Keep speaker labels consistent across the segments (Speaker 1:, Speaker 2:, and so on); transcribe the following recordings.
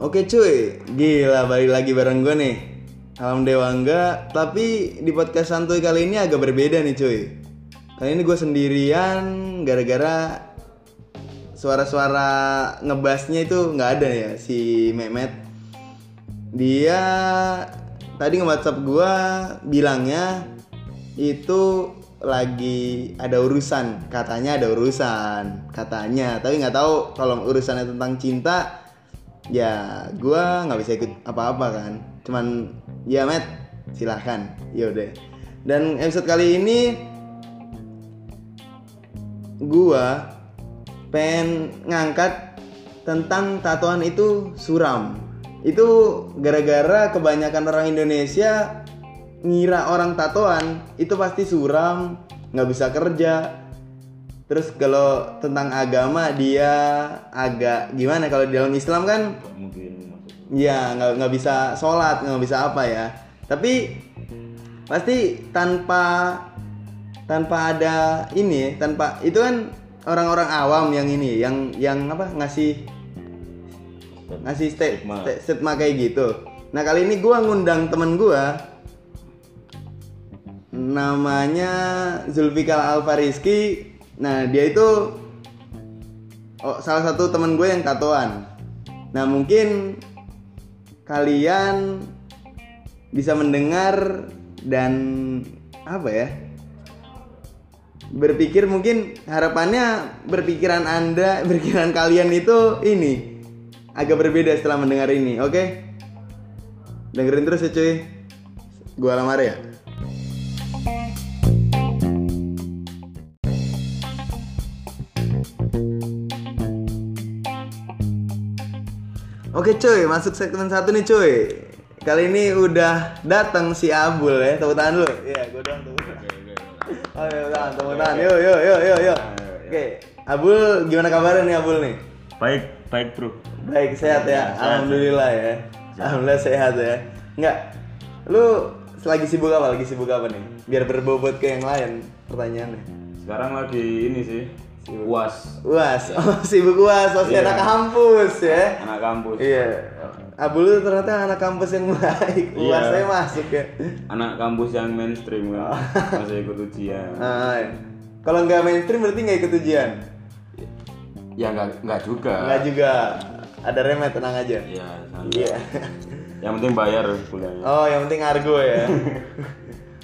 Speaker 1: Oke cuy, gila balik lagi bareng gue nih Alam Dewangga, tapi di podcast santuy kali ini agak berbeda nih cuy Kali ini gue sendirian gara-gara suara-suara ngebasnya itu nggak ada ya si Mehmet Dia tadi nge-whatsapp gue bilangnya itu lagi ada urusan katanya ada urusan katanya tapi nggak tahu kalau urusannya tentang cinta ya gua nggak bisa ikut apa-apa kan cuman ya met silahkan yaudah dan episode kali ini gua pengen ngangkat tentang tatoan itu suram itu gara-gara kebanyakan orang Indonesia ngira orang tatoan itu pasti suram, nggak bisa kerja. Terus kalau tentang agama dia agak gimana kalau di dalam Islam kan
Speaker 2: mungkin maksud
Speaker 1: ya nggak nggak bisa sholat nggak bisa apa ya. Tapi pasti tanpa tanpa ada ini tanpa itu kan orang-orang awam yang ini yang yang apa ngasih ngasih sta-
Speaker 2: Stigma.
Speaker 1: sta- stigma kayak gitu. Nah kali ini gua ngundang temen gua namanya Zulfikar Alfariski. Nah dia itu oh, salah satu temen gue yang tatoan. Nah mungkin kalian bisa mendengar dan apa ya berpikir mungkin harapannya berpikiran anda berpikiran kalian itu ini agak berbeda setelah mendengar ini oke dengerin terus ya cuy gua lamar ya Oke cuy, masuk segmen satu nih cuy. Kali ini udah datang si Abul ya, tepuk tangan dulu. Iya, gue doang tepuk tangan. Oke, Ah, iya, tepuk tangan, tepuk tangan. Yo, yo, yo, yo, yo. Oke, Abul gimana kabarnya nih Abul nih?
Speaker 2: baik baik bro
Speaker 1: Baik, sehat ya. Alhamdulillah ya. Alhamdulillah sehat ya. Enggak. Lu lagi sibuk apa? Lagi sibuk apa nih? Biar berbobot ke yang lain pertanyaannya.
Speaker 2: sekarang lagi ini sih uas
Speaker 1: Uas, oh, sibuk uas, oh, si
Speaker 2: Iya.
Speaker 1: anak kampus ya.
Speaker 2: anak kampus
Speaker 1: Iya. Abul tuh ternyata anak kampus yang baik.
Speaker 2: Iya.
Speaker 1: Uas saya masuk ya.
Speaker 2: anak kampus yang mainstream
Speaker 1: Ah.
Speaker 2: kan masih ikut ujian
Speaker 1: Nah, iya. kalau nggak mainstream berarti nggak ikut ujian.
Speaker 2: ya nggak nggak juga
Speaker 1: Nggak juga. Ada remet tenang aja.
Speaker 2: Iya, santai.
Speaker 1: Iya.
Speaker 2: yang penting bayar kuliahnya
Speaker 1: Oh, yang penting argo ya.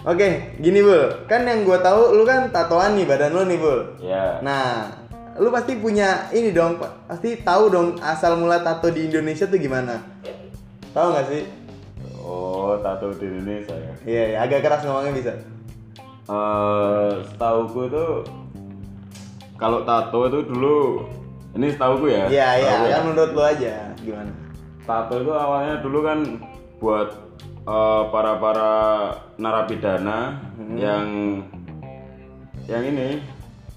Speaker 1: Oke, gini Bul. Kan yang gue tahu lu kan tatoan nih badan lu nih Bul.
Speaker 2: ya
Speaker 1: Nah, lu pasti punya ini dong, pa- pasti tahu dong asal mula tato di Indonesia tuh gimana. Tahu nggak sih?
Speaker 2: oh tato di Indonesia ya
Speaker 1: Iya, iya, agak keras ngomongnya bisa.
Speaker 2: Eh, setauku itu kalau tato itu dulu ini setauku ya
Speaker 1: Iya, iya,
Speaker 2: setauku ya.
Speaker 1: kan menurut lu aja gimana?
Speaker 2: Tato itu awalnya dulu kan buat eh, para para narapidana
Speaker 1: Hmm.
Speaker 2: yang yang ini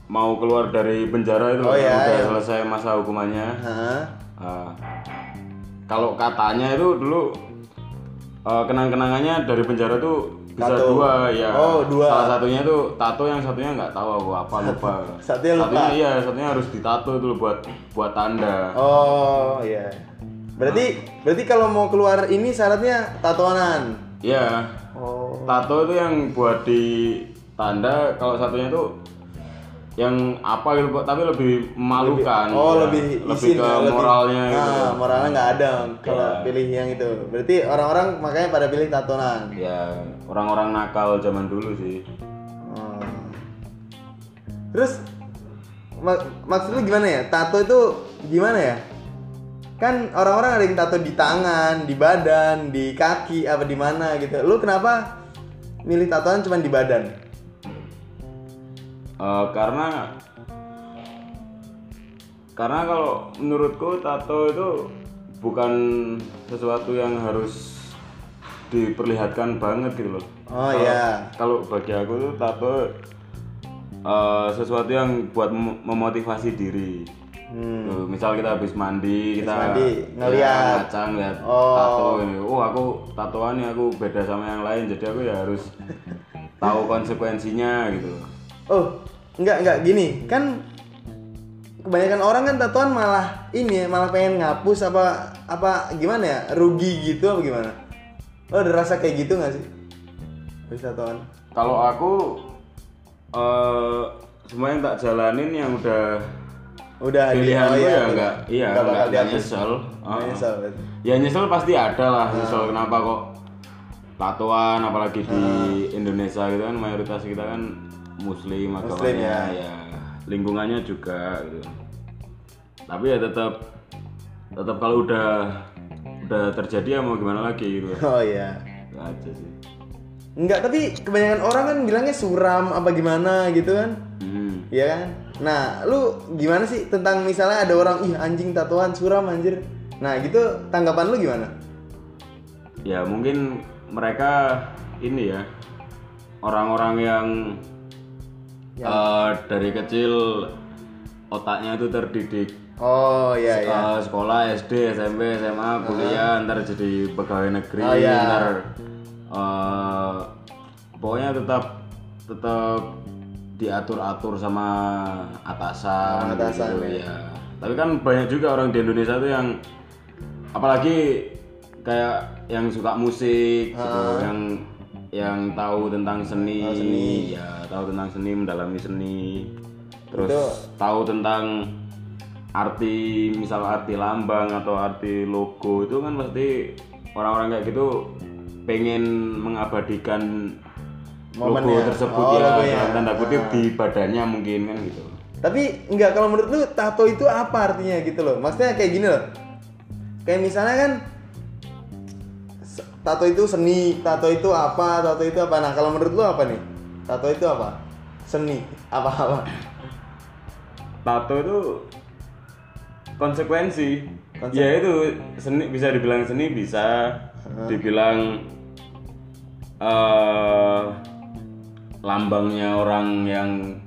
Speaker 2: mau keluar dari penjara itu
Speaker 1: Oh,
Speaker 2: kan,
Speaker 1: iya,
Speaker 2: udah
Speaker 1: iya.
Speaker 2: selesai masa hukumannya.
Speaker 1: Hah?
Speaker 2: Ah, kalau katanya itu dulu eh, kenang-kenangannya dari penjara tuh bisa
Speaker 1: Tato.
Speaker 2: dua ya.
Speaker 1: Oh, dua.
Speaker 2: Salah satunya tuh tato yang satunya nggak tahu aku apa lupa.
Speaker 1: Satunya lupa.
Speaker 2: Satunya iya, satunya harus ditato dulu buat buat tanda.
Speaker 1: Oh, iya. Berarti berarti kalau mau keluar ini syaratnya tatoanan.
Speaker 2: Iya.
Speaker 1: Oh.
Speaker 2: Tato itu yang buat di tanda kalau satunya tuh yang apa gitu Pak, tapi lebih memalukan.
Speaker 1: Oh,
Speaker 2: ya.
Speaker 1: lebih
Speaker 2: lebih
Speaker 1: isin
Speaker 2: ke
Speaker 1: ya, lebih-
Speaker 2: moralnya gitu.
Speaker 1: Ah, moralnya nggak ada kalau
Speaker 2: Iya.
Speaker 1: pilih yang itu. Berarti orang-orang makanya pada pilih tatoanan.
Speaker 2: Ya, orang-orang nakal zaman dulu sih.
Speaker 1: Oh. Terus mak maksud lu gimana ya? Tato itu gimana ya? Kan orang-orang ada yang tato di tangan, di badan, di kaki, apa di mana gitu. Lu kenapa milih tatoan cuma di badan?
Speaker 2: Eh, karena karena kalau menurutku tato itu bukan sesuatu yang harus diperlihatkan banget gitu loh.
Speaker 1: Oh iya.
Speaker 2: Kalau bagi aku tuh tato eh, sesuatu yang buat mem- memotivasi diri.
Speaker 1: Hmm.
Speaker 2: Tuh, misal kita habis mandi, kita
Speaker 1: mandi,
Speaker 2: ya,
Speaker 1: ngeliat.
Speaker 2: ngaca, ngeliat
Speaker 1: Oh.
Speaker 2: tato ini. Oh, aku tatoan nih, aku beda sama yang lain. Jadi aku ya harus tahu konsekuensinya gitu.
Speaker 1: Oh, enggak enggak gini. Kan kebanyakan orang kan tatoan malah ini ya, malah pengen ngapus apa apa gimana ya rugi gitu apa gimana lo ada rasa kayak gitu nggak sih habis tatoan
Speaker 2: Kalau aku eh semua yang tak jalanin yang udah
Speaker 1: udah di-
Speaker 2: pilihan
Speaker 1: oh
Speaker 2: gue
Speaker 1: iya,
Speaker 2: ya
Speaker 1: bener.
Speaker 2: enggak iya
Speaker 1: Nggak bakal
Speaker 2: enggak
Speaker 1: dihapus
Speaker 2: nyesel.
Speaker 1: Nggak
Speaker 2: Heeh.
Speaker 1: nyesel berarti.
Speaker 2: Ya nyesel pasti ada lah nyesel kenapa kok tatoan apalagi di Indonesia gitu kan mayoritas kita kan muslim
Speaker 1: Muslim,
Speaker 2: agamanya ya. lingkungannya juga gitu. Tapi ya tetap tetap kalau udah udah terjadi ya mau gimana lagi gitu.
Speaker 1: oh iya
Speaker 2: Itu aja sih.
Speaker 1: Enggak, tapi kebanyakan orang kan bilangnya suram apa gimana gitu kan
Speaker 2: Hmm.
Speaker 1: Iya kan? Nah, lu gimana sih tentang misalnya ada orang ih anjing tatoan suram anjir. Nah, gitu tanggapan lu gimana?
Speaker 2: ya mungkin mereka ini ya orang-orang yang eh, dari kecil otaknya itu terdidik
Speaker 1: Oh iya iya.
Speaker 2: Eh, sekolah SD SMP SMA kuliah ntar jadi pegawai negeri
Speaker 1: Oh, iya.
Speaker 2: ntar eh, pokoknya tetap tetap diatur-atur sama atasan,
Speaker 1: Sama atasan,
Speaker 2: gitu, ya. tapi kan banyak juga orang di Indonesia tuh yang apalagi kayak yang suka musik gitu, yang yang tahu tentang seni, ya tahu tentang seni mendalami seni terus tahu tentang arti misal arti lambang atau arti logo itu kan pasti orang-orang kayak gitu pengen mengabadikan logo tersebut
Speaker 1: Oh,
Speaker 2: ya
Speaker 1: logonya.
Speaker 2: dalam tanda kutip di badannya mungkin kan gitu
Speaker 1: Tapi enggak kalau menurut lu tato itu apa artinya gitu loh. Maksudnya kayak gini loh. Kayak misalnya kan se- tato itu seni, tato itu apa, tato itu apa. Nah, kalau menurut lu apa nih? Tato itu apa? Seni apa apa?
Speaker 2: tato itu konsekuensi ya itu seni bisa dibilang seni bisa dibilang eh lambangnya orang yang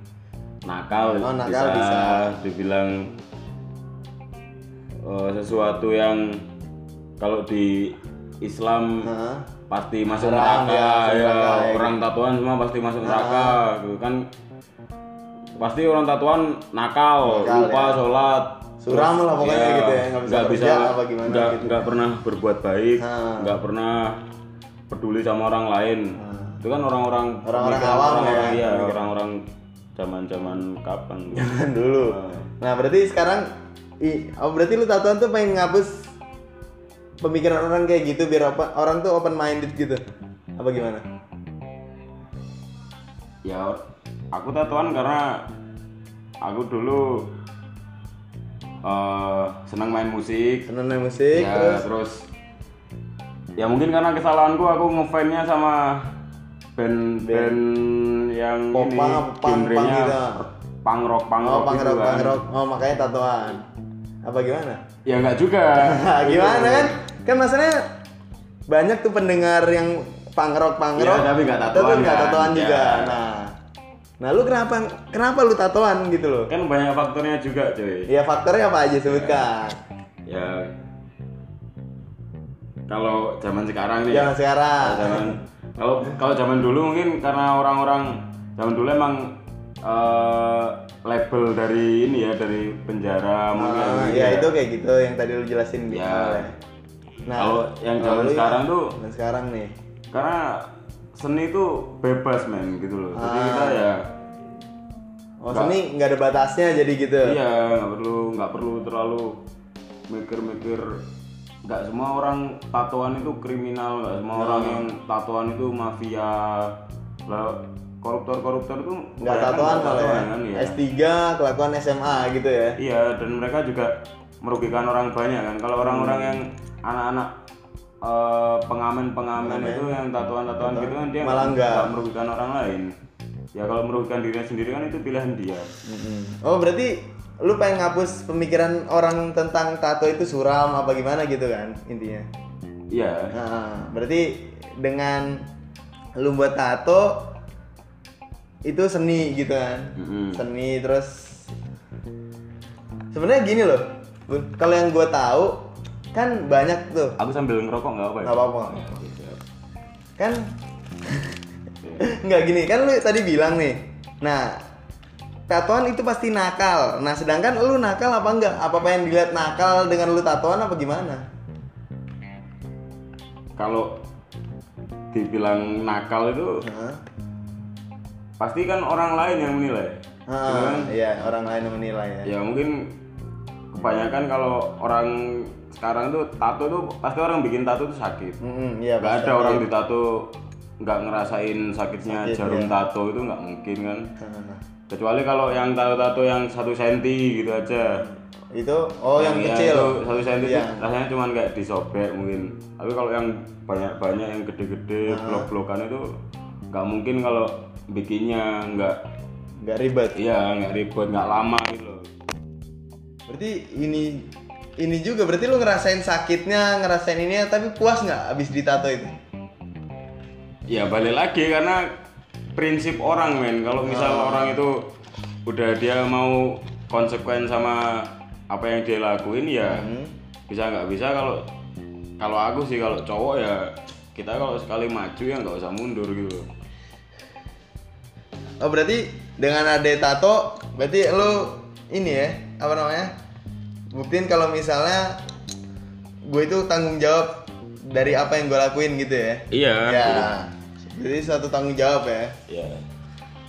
Speaker 2: nakal,
Speaker 1: Oh, nakal bisa.
Speaker 2: dibilang eh, sesuatu yang kalau di Islam
Speaker 1: Heeh.
Speaker 2: pasti masuk
Speaker 1: Orang,
Speaker 2: neraka
Speaker 1: ya,
Speaker 2: ya,
Speaker 1: masuk neraka, ya. Ah.
Speaker 2: orang tatuan semua pasti masuk neraka gitu kan pasti orang tatuan
Speaker 1: Nakal,
Speaker 2: nakal,
Speaker 1: ya.
Speaker 2: lupa sholat
Speaker 1: Suram lah pokoknya gitu ya, nggak bisa kerja apa gimana
Speaker 2: nggak
Speaker 1: gitu.
Speaker 2: nggak pernah berbuat baik
Speaker 1: Nah.
Speaker 2: nggak pernah peduli sama orang lain itu kan orang-orang
Speaker 1: Ah. Orang-orang
Speaker 2: pemikiran,
Speaker 1: awam
Speaker 2: orang-orang
Speaker 1: ya,
Speaker 2: iya, orang-orang zaman-zaman kapan gitu.
Speaker 1: dulu. Nah, berarti sekarang i, oh berarti lu tatoan tuh pengen ngapus pemikiran orang kayak gitu biar apa orang tuh open minded gitu. Apa gimana?
Speaker 2: ya aku tatoan karena aku dulu eh, senang main musik
Speaker 1: Seneng main musik
Speaker 2: ya
Speaker 1: Iya, terus
Speaker 2: terus. ya mungkin karena kesalahanku aku ngefansnya sama band band yang
Speaker 1: Pop
Speaker 2: ini
Speaker 1: punk, punk,
Speaker 2: genrenya
Speaker 1: punk gitu.
Speaker 2: punk rock punk
Speaker 1: oh
Speaker 2: rock
Speaker 1: punk
Speaker 2: gitu
Speaker 1: rock,
Speaker 2: kan.
Speaker 1: punk rock. Oh, makanya tatoan. Apa gimana?
Speaker 2: ya enggak juga
Speaker 1: Nah,
Speaker 2: Gitu.
Speaker 1: gimana kan? Kan masalahnya banyak tuh pendengar yang punk rock punk
Speaker 2: Iya,
Speaker 1: rock.
Speaker 2: tapi nggak
Speaker 1: Tapi
Speaker 2: tatoan
Speaker 1: nggak
Speaker 2: kan?
Speaker 1: tatoan
Speaker 2: Iya.
Speaker 1: juga. Nah. Nah, lu kenapa kenapa lu tatoan gitu loh?
Speaker 2: kan banyak faktornya juga cuy
Speaker 1: Ya faktornya apa aja sebutkan.
Speaker 2: ya kalau zaman sekarang nih
Speaker 1: Jangan sekarang. Ah,
Speaker 2: Kalau Iya. zaman kalau kalau zaman dulu mungkin karena orang-orang zaman dulu emang eh, label dari ini ya dari penjara mungkin
Speaker 1: Ah, ya itu kayak gitu yang tadi lu jelasin di
Speaker 2: Ya.
Speaker 1: awal ya. Nah,
Speaker 2: Kalau yang
Speaker 1: kalau
Speaker 2: zaman
Speaker 1: lu
Speaker 2: sekarang tuh
Speaker 1: yang sekarang nih.
Speaker 2: karena seni itu bebas men gitu loh. Jadi
Speaker 1: Ah.
Speaker 2: kita ya
Speaker 1: Oh, seni nggak ada batasnya jadi gitu.
Speaker 2: iya nggak perlu nggak perlu terlalu mikir-mikir nggak semua orang tatoan itu kriminal nggak
Speaker 1: Nah.
Speaker 2: semua orang yang tatoan itu mafia lah koruptor-koruptor itu
Speaker 1: Nggak
Speaker 2: kebanyakan
Speaker 1: tatoan
Speaker 2: nggak
Speaker 1: kalau ya.
Speaker 2: tatoan kan, iya.
Speaker 1: S3 kelakuan SMA gitu ya.
Speaker 2: Iya, dan mereka juga merugikan orang banyak kan. Kalau orang-orang
Speaker 1: Hmm.
Speaker 2: yang anak-anak eh, pengamen-pengamen itu yang tatuan-tatuan gitu kan dia
Speaker 1: Malah
Speaker 2: nggak-
Speaker 1: nggak.
Speaker 2: nggak merugikan orang lain. Ya kalau merugikan dirinya sendiri kan itu pilihan dia.
Speaker 1: Oh, berarti lu pengen ngapus pemikiran orang tentang tato itu suram apa gimana gitu kan intinya.
Speaker 2: Iya.
Speaker 1: Nah, berarti dengan lu buat tato itu seni gitu kan.
Speaker 2: Mm-mm.
Speaker 1: seni terus sebenarnya gini loh Bun. kalau yang gue tahu kan banyak tuh
Speaker 2: Aku sambil ngerokok nggak apa ya?
Speaker 1: nggak apa-apa kan nggak gini kan lu tadi bilang nih nah tatoan itu pasti nakal. Nah, sedangkan lu nakal apa enggak? Apa pengen dilihat nakal dengan lu tatoan apa gimana?
Speaker 2: Kalau dibilang nakal itu
Speaker 1: Hah?
Speaker 2: pasti kan orang lain yang menilai.
Speaker 1: Ah,
Speaker 2: Hmm.
Speaker 1: iya, orang lain yang menilai ya.
Speaker 2: Ya mungkin kebanyakan kalau orang sekarang tuh tato tuh pasti orang bikin tato tuh sakit.
Speaker 1: Mm-mm, iya,
Speaker 2: Gak
Speaker 1: pasti.
Speaker 2: ada orang ditato nggak ngerasain sakitnya
Speaker 1: Sakit,
Speaker 2: jarum
Speaker 1: iya.
Speaker 2: tato itu nggak mungkin kan.
Speaker 1: Nah,
Speaker 2: Kecuali kalau yang tato-tato yang satu senti gitu aja.
Speaker 1: Itu oh yang
Speaker 2: Iya,
Speaker 1: kecil.
Speaker 2: itu satu senti
Speaker 1: Iya.
Speaker 2: tuh rasanya cuman kayak disobek mungkin tapi kalau yang banyak-banyak yang
Speaker 1: Ah.
Speaker 2: gede-gede blok-blokan itu nggak mungkin kalau bikinnya nggak
Speaker 1: Enggak ribet.
Speaker 2: iya nggak ribet nggak lama gitu loh
Speaker 1: Berarti ini ini juga berarti lu ngerasain sakitnya, ngerasain ini tapi puas nggak abis ditato itu?
Speaker 2: ya balik lagi karena prinsip orang men kalau misal orang itu udah dia mau konsekuen sama apa yang dia lakuin ya
Speaker 1: Hmm.
Speaker 2: bisa nggak bisa kalau kalau aku sih kalau cowok ya kita kalau sekali maju ya nggak usah mundur gitu
Speaker 1: Oh, berarti dengan ada tato berarti lu ini ya, apa namanya? Buktiin kalau misalnya gue itu tanggung jawab dari apa yang gue lakuin gitu ya.
Speaker 2: iya
Speaker 1: Ya. Jadi satu tanggung jawab ya.
Speaker 2: Iya.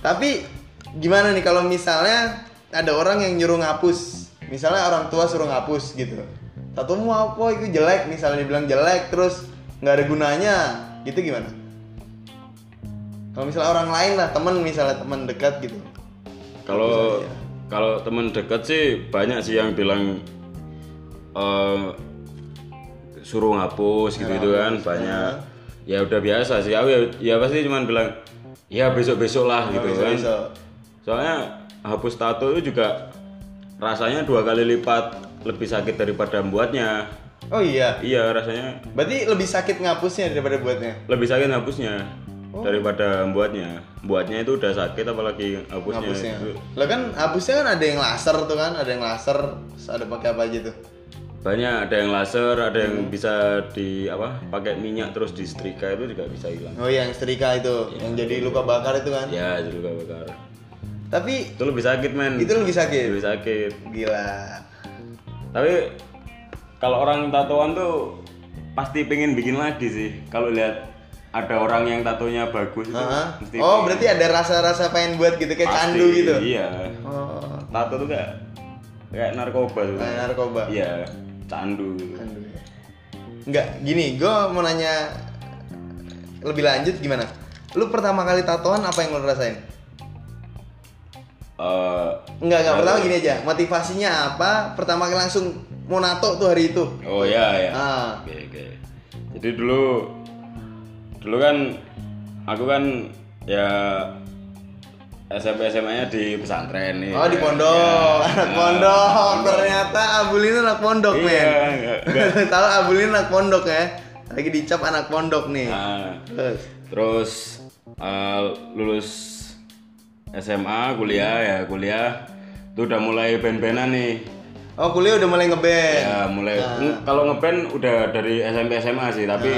Speaker 1: Tapi gimana nih kalau misalnya ada orang yang nyuruh ngapus, misalnya orang tua suruh ngapus gitu. Tato mau apa itu jelek, misalnya dibilang jelek terus nggak ada gunanya, gitu gimana? Kalau misalnya orang lain lah, teman misalnya teman dekat gitu.
Speaker 2: Kalau kalau teman dekat sih banyak sih yang bilang eh, suruh ngapus gitu gitu kan banyak. Ya udah biasa sih. Aku ya, ya pasti cuman bilang ya besok-besok lah gitu kan.
Speaker 1: Bisa-bisa.
Speaker 2: Soalnya hapus tato itu juga rasanya dua kali lipat lebih sakit daripada buatnya.
Speaker 1: Oh iya,
Speaker 2: Iya, rasanya
Speaker 1: berarti lebih sakit ngapusnya daripada buatnya.
Speaker 2: lebih sakit hapusnya Oh. daripada buatnya. Buatnya itu udah sakit apalagi hapusnya.
Speaker 1: Ngapusnya.
Speaker 2: itu
Speaker 1: Lah kan hapusnya kan ada yang laser tuh kan, ada yang laser, terus ada pakai apa aja tuh.
Speaker 2: banyak ada yang laser ada
Speaker 1: Hmm.
Speaker 2: yang bisa di apa pakai minyak terus disetrika itu juga bisa hilang
Speaker 1: Oh iya, yang setrika itu, yang jadi luka bakar itu kan.
Speaker 2: ya juga bakar
Speaker 1: Tapi
Speaker 2: itu lebih sakit men
Speaker 1: itu lebih sakit.
Speaker 2: lebih sakit
Speaker 1: Gila.
Speaker 2: tapi kalau orang tatoan tuh pasti pengen bikin lagi sih kalau lihat ada orang yang tatonya bagus itu
Speaker 1: Hah?
Speaker 2: mesti
Speaker 1: Oh, berarti ada rasa-rasa pengen buat gitu kayak
Speaker 2: pasti,
Speaker 1: candu gitu.
Speaker 2: iya
Speaker 1: Oh,
Speaker 2: tato tuh kayak kayak narkoba tuh
Speaker 1: kayak narkoba.
Speaker 2: iya candu gitu.
Speaker 1: Candu ya. Enggak, gini, gue mau nanya lebih lanjut gimana? Lu pertama kali tatoan apa yang lu rasain?
Speaker 2: Eh,
Speaker 1: Enggak, enggak, pertama gini aja. Motivasinya apa? Pertama kali langsung mau nato tuh hari itu.
Speaker 2: oh ya ya
Speaker 1: Ah,
Speaker 2: Oke, oke. Jadi dulu dulu kan aku kan ya SMP SMA-nya di pesantren nih. Ya. Nah,
Speaker 1: oh di pondok, anak pondok. Ternyata Abulin anak pondok,
Speaker 2: Iya,
Speaker 1: men.
Speaker 2: enggak.
Speaker 1: Tahu Abulin anak pondok ya. Lagi dicap anak pondok nih.
Speaker 2: Nah,
Speaker 1: Terus.
Speaker 2: terus eh, lulus SMA, kuliah ya, kuliah itu udah mulai ben-benan nih.
Speaker 1: Oh, kuliah udah mulai ngeband.
Speaker 2: Ya, mulai
Speaker 1: Ah.
Speaker 2: ng- kalau ngeband udah dari SMP SMA sih, tapi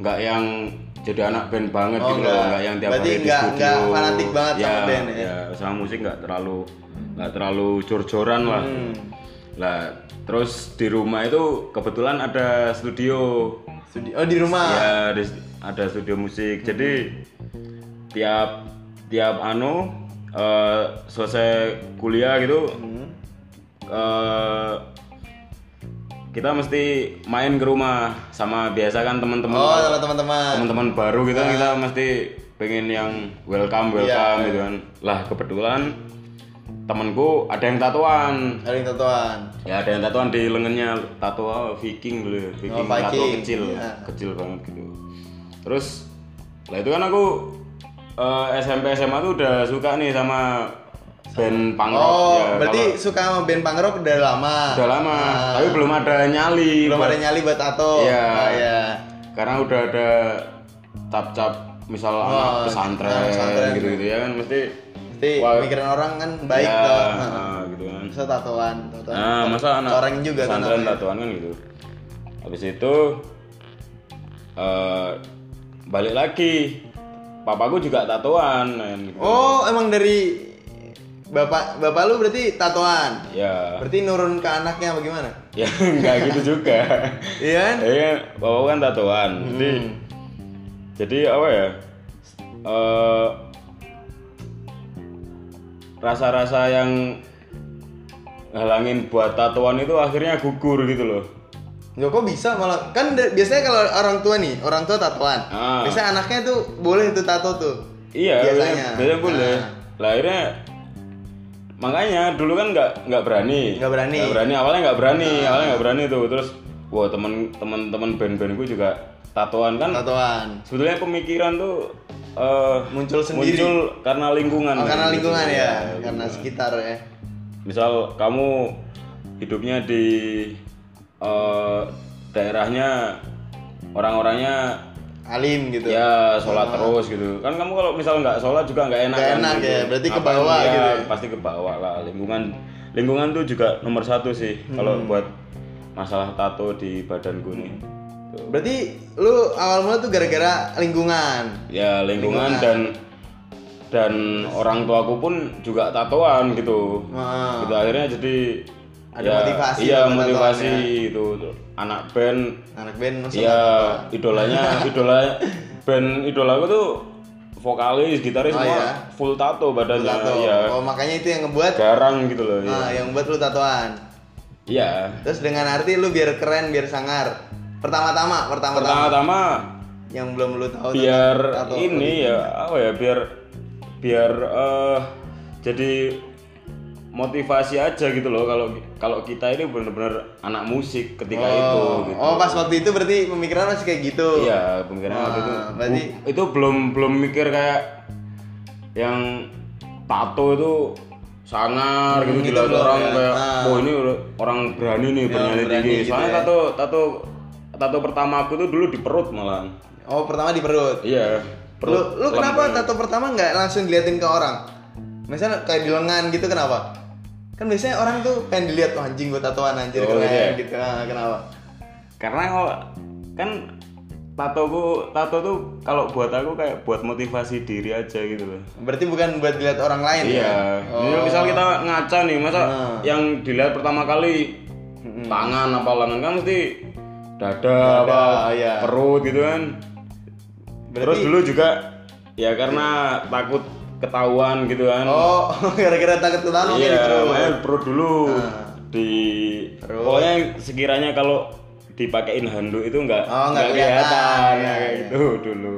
Speaker 2: nggak yang jadi anak band banget
Speaker 1: Ah. Oh,
Speaker 2: gitu loh,
Speaker 1: nggak.
Speaker 2: nggak yang tiap
Speaker 1: Berarti
Speaker 2: hari di
Speaker 1: nggak-
Speaker 2: studio.
Speaker 1: nggak fanatik banget
Speaker 2: ya,
Speaker 1: sama band ya?
Speaker 2: sama musik nggak terlalu nggak terlalu jor-joran lah.
Speaker 1: Hmm.
Speaker 2: Lah, terus di rumah itu kebetulan ada studio.
Speaker 1: Studi- oh di rumah.
Speaker 2: Ya, di- ada studio musik. Jadi tiap tiap anu eh, selesai kuliah gitu eh, kita mesti main ke rumah sama biasa kan teman-teman
Speaker 1: Oh, sama teman-teman.
Speaker 2: teman-teman baru gitu kan, kita mesti pengen yang welcome welcome gitu kan lah kebetulan temanku ada yang tatoan
Speaker 1: Ada yang tatoan.
Speaker 2: ya ada yang tatoan di lengannya tato apa, Viking dulu ya, Viking, tato
Speaker 1: Oh, Viking,
Speaker 2: kecil ya,
Speaker 1: iya.
Speaker 2: kecil banget gitu terus lah itu kan aku eh, SMP SMA tuh udah suka nih sama band punk rock
Speaker 1: Oh,
Speaker 2: ya,
Speaker 1: berarti
Speaker 2: kalau-
Speaker 1: suka sama band punk rock udah lama. Nah,
Speaker 2: udah lama tapi belum ada nyali
Speaker 1: Belum ada nyali buat tato.
Speaker 2: Iya.
Speaker 1: Ah, iya.
Speaker 2: karena udah ada cap-cap misal anak pesantren,
Speaker 1: anak ah, pesantren.
Speaker 2: gitu gitu ya kan mesti
Speaker 1: Pasti
Speaker 2: Wah.
Speaker 1: mikirin orang kan baik
Speaker 2: ya,
Speaker 1: toh.
Speaker 2: ah, gitu kan
Speaker 1: Bisa tatoan, tatoan.
Speaker 2: nah masa anak
Speaker 1: Coreng juga kan
Speaker 2: pesantren
Speaker 1: namanya.
Speaker 2: tatoan kan gitu habis itu eh, balik lagi papaku juga tatoan kan, gitu.
Speaker 1: Oh, emang dari Bapak bapak lu berarti tatoan.
Speaker 2: ya
Speaker 1: Berarti nurun ke anaknya apa gimana?
Speaker 2: ya nggak gitu juga
Speaker 1: Iya kan?
Speaker 2: ya kan bapak kan tatoan jadi
Speaker 1: Hmm.
Speaker 2: jadi apa ya Eh, rasa-rasa yang halangin buat tatoan itu akhirnya gugur gitu loh
Speaker 1: Hmm. Loh, kok bisa malah kan da- biasanya kalau orang tua nih, orang tua tatoan.
Speaker 2: Ah.
Speaker 1: Biasanya anaknya tuh boleh tuh tato tuh.
Speaker 2: Iya,
Speaker 1: Biasanya.
Speaker 2: biasanya, biasanya boleh.
Speaker 1: Nah.
Speaker 2: Lah akhirnya makanya dulu kan nggak nggak berani.
Speaker 1: Nggak berani. Ah.
Speaker 2: Nggak berani awalnya nggak berani, awalnya nggak berani tuh terus wah temen temen temen band-band gue juga tatoan kan.
Speaker 1: Tatoan.
Speaker 2: Sebetulnya pemikiran tuh eh,
Speaker 1: Muncul sendiri.
Speaker 2: muncul karena lingkungan.
Speaker 1: Oh, karena
Speaker 2: Gitu.
Speaker 1: lingkungan ya,
Speaker 2: Iya.
Speaker 1: karena sekitar ya.
Speaker 2: Misal kamu hidupnya di eh, daerahnya orang-orangnya
Speaker 1: Alim gitu.
Speaker 2: Ya sholat terus gitu kan kamu kalau misal nggak sholat juga nggak enak.
Speaker 1: Nggak
Speaker 2: kan,
Speaker 1: enak
Speaker 2: gitu.
Speaker 1: ya, berarti ke
Speaker 2: Apa yang-
Speaker 1: bawah
Speaker 2: ya,
Speaker 1: gitu
Speaker 2: Pasti ke bawah lah lingkungan lingkungan tuh juga nomor satu sih kalau
Speaker 1: Hmm.
Speaker 2: buat masalah tato di badanku nih. Tuh.
Speaker 1: Berarti lu awal mula tuh gara-gara lingkungan.
Speaker 2: Ya lingkungan, dan dan orang tuaku pun juga tatoan gitu.
Speaker 1: Wah.
Speaker 2: Gitu akhirnya jadi
Speaker 1: Ah. Ada motivasi ya.
Speaker 2: Iya
Speaker 1: buat
Speaker 2: motivasi itu anak band
Speaker 1: Anak band masuk.
Speaker 2: Iya, idolanya, idola band idolaku tuh vokalis, gitaris
Speaker 1: Oh,
Speaker 2: semua
Speaker 1: iya?
Speaker 2: full tato badannya.
Speaker 1: tato.
Speaker 2: Iya,
Speaker 1: Oh, makanya itu yang ngebuat
Speaker 2: garang gitu loh. Iya.
Speaker 1: ah, yang buat lu tatoan.
Speaker 2: Iya.
Speaker 1: Terus dengan arti lu biar keren, biar sangar. Pertama-tama, pertama-tama
Speaker 2: Pertama-tama
Speaker 1: yang belum lu tahu
Speaker 2: biar
Speaker 1: tato.
Speaker 2: ini ya apa ya biar biar eh, jadi motivasi aja gitu loh kalau kalau kita ini bener-bener anak musik ketika itu gitu.
Speaker 1: Oh, pas waktu itu berarti pemikiran masih kayak gitu.
Speaker 2: Iya, pemikiran waktu itu.
Speaker 1: Ah, berarti
Speaker 2: Itu belum belum mikir kayak yang tato itu sangar gitu
Speaker 1: gitu
Speaker 2: gila
Speaker 1: belum
Speaker 2: orang
Speaker 1: ya.
Speaker 2: kayak
Speaker 1: Ah.
Speaker 2: oh ini orang berani nih berani
Speaker 1: berani
Speaker 2: tinggi.
Speaker 1: gitu
Speaker 2: Soalnya
Speaker 1: ya.
Speaker 2: tato tato tato pertama aku tuh dulu di perut malah.
Speaker 1: oh pertama di perut. Lu
Speaker 2: Iya, perut.
Speaker 1: lu kenapa tato pertama nggak langsung diliatin ke orang? Misalnya kayak di lengan gitu kenapa? Kan biasanya orang tuh pengen dilihat "Wah, anjing gua tatoan anjir
Speaker 2: Oh,
Speaker 1: keren
Speaker 2: gitu ya?
Speaker 1: gitu. Ah, kenapa?
Speaker 2: Karena kalau kan tatoku tato tuh kalau buat aku kayak buat motivasi diri aja gitu loh.
Speaker 1: Berarti bukan buat dilihat orang lain
Speaker 2: Iya.
Speaker 1: ya?
Speaker 2: Misal, misal kita ngaca nih, masa
Speaker 1: Nah.
Speaker 2: yang dilihat pertama kali tangan apa lengan kan mesti dada, apa
Speaker 1: iya.
Speaker 2: perut gitu kan. Terus
Speaker 1: Berarti-
Speaker 2: dulu juga ya karena takut ketahuan gitu kan.
Speaker 1: Oh, gitu. gara-gara takut ketahuan makanya di
Speaker 2: iya,
Speaker 1: perut.
Speaker 2: makanya perut dulu
Speaker 1: Nah.
Speaker 2: di pokoknya sekiranya kalau dipakein handuk itu enggak
Speaker 1: Oh, nggak kelihatan.
Speaker 2: ya,
Speaker 1: Iya,
Speaker 2: kayak gitu dulu.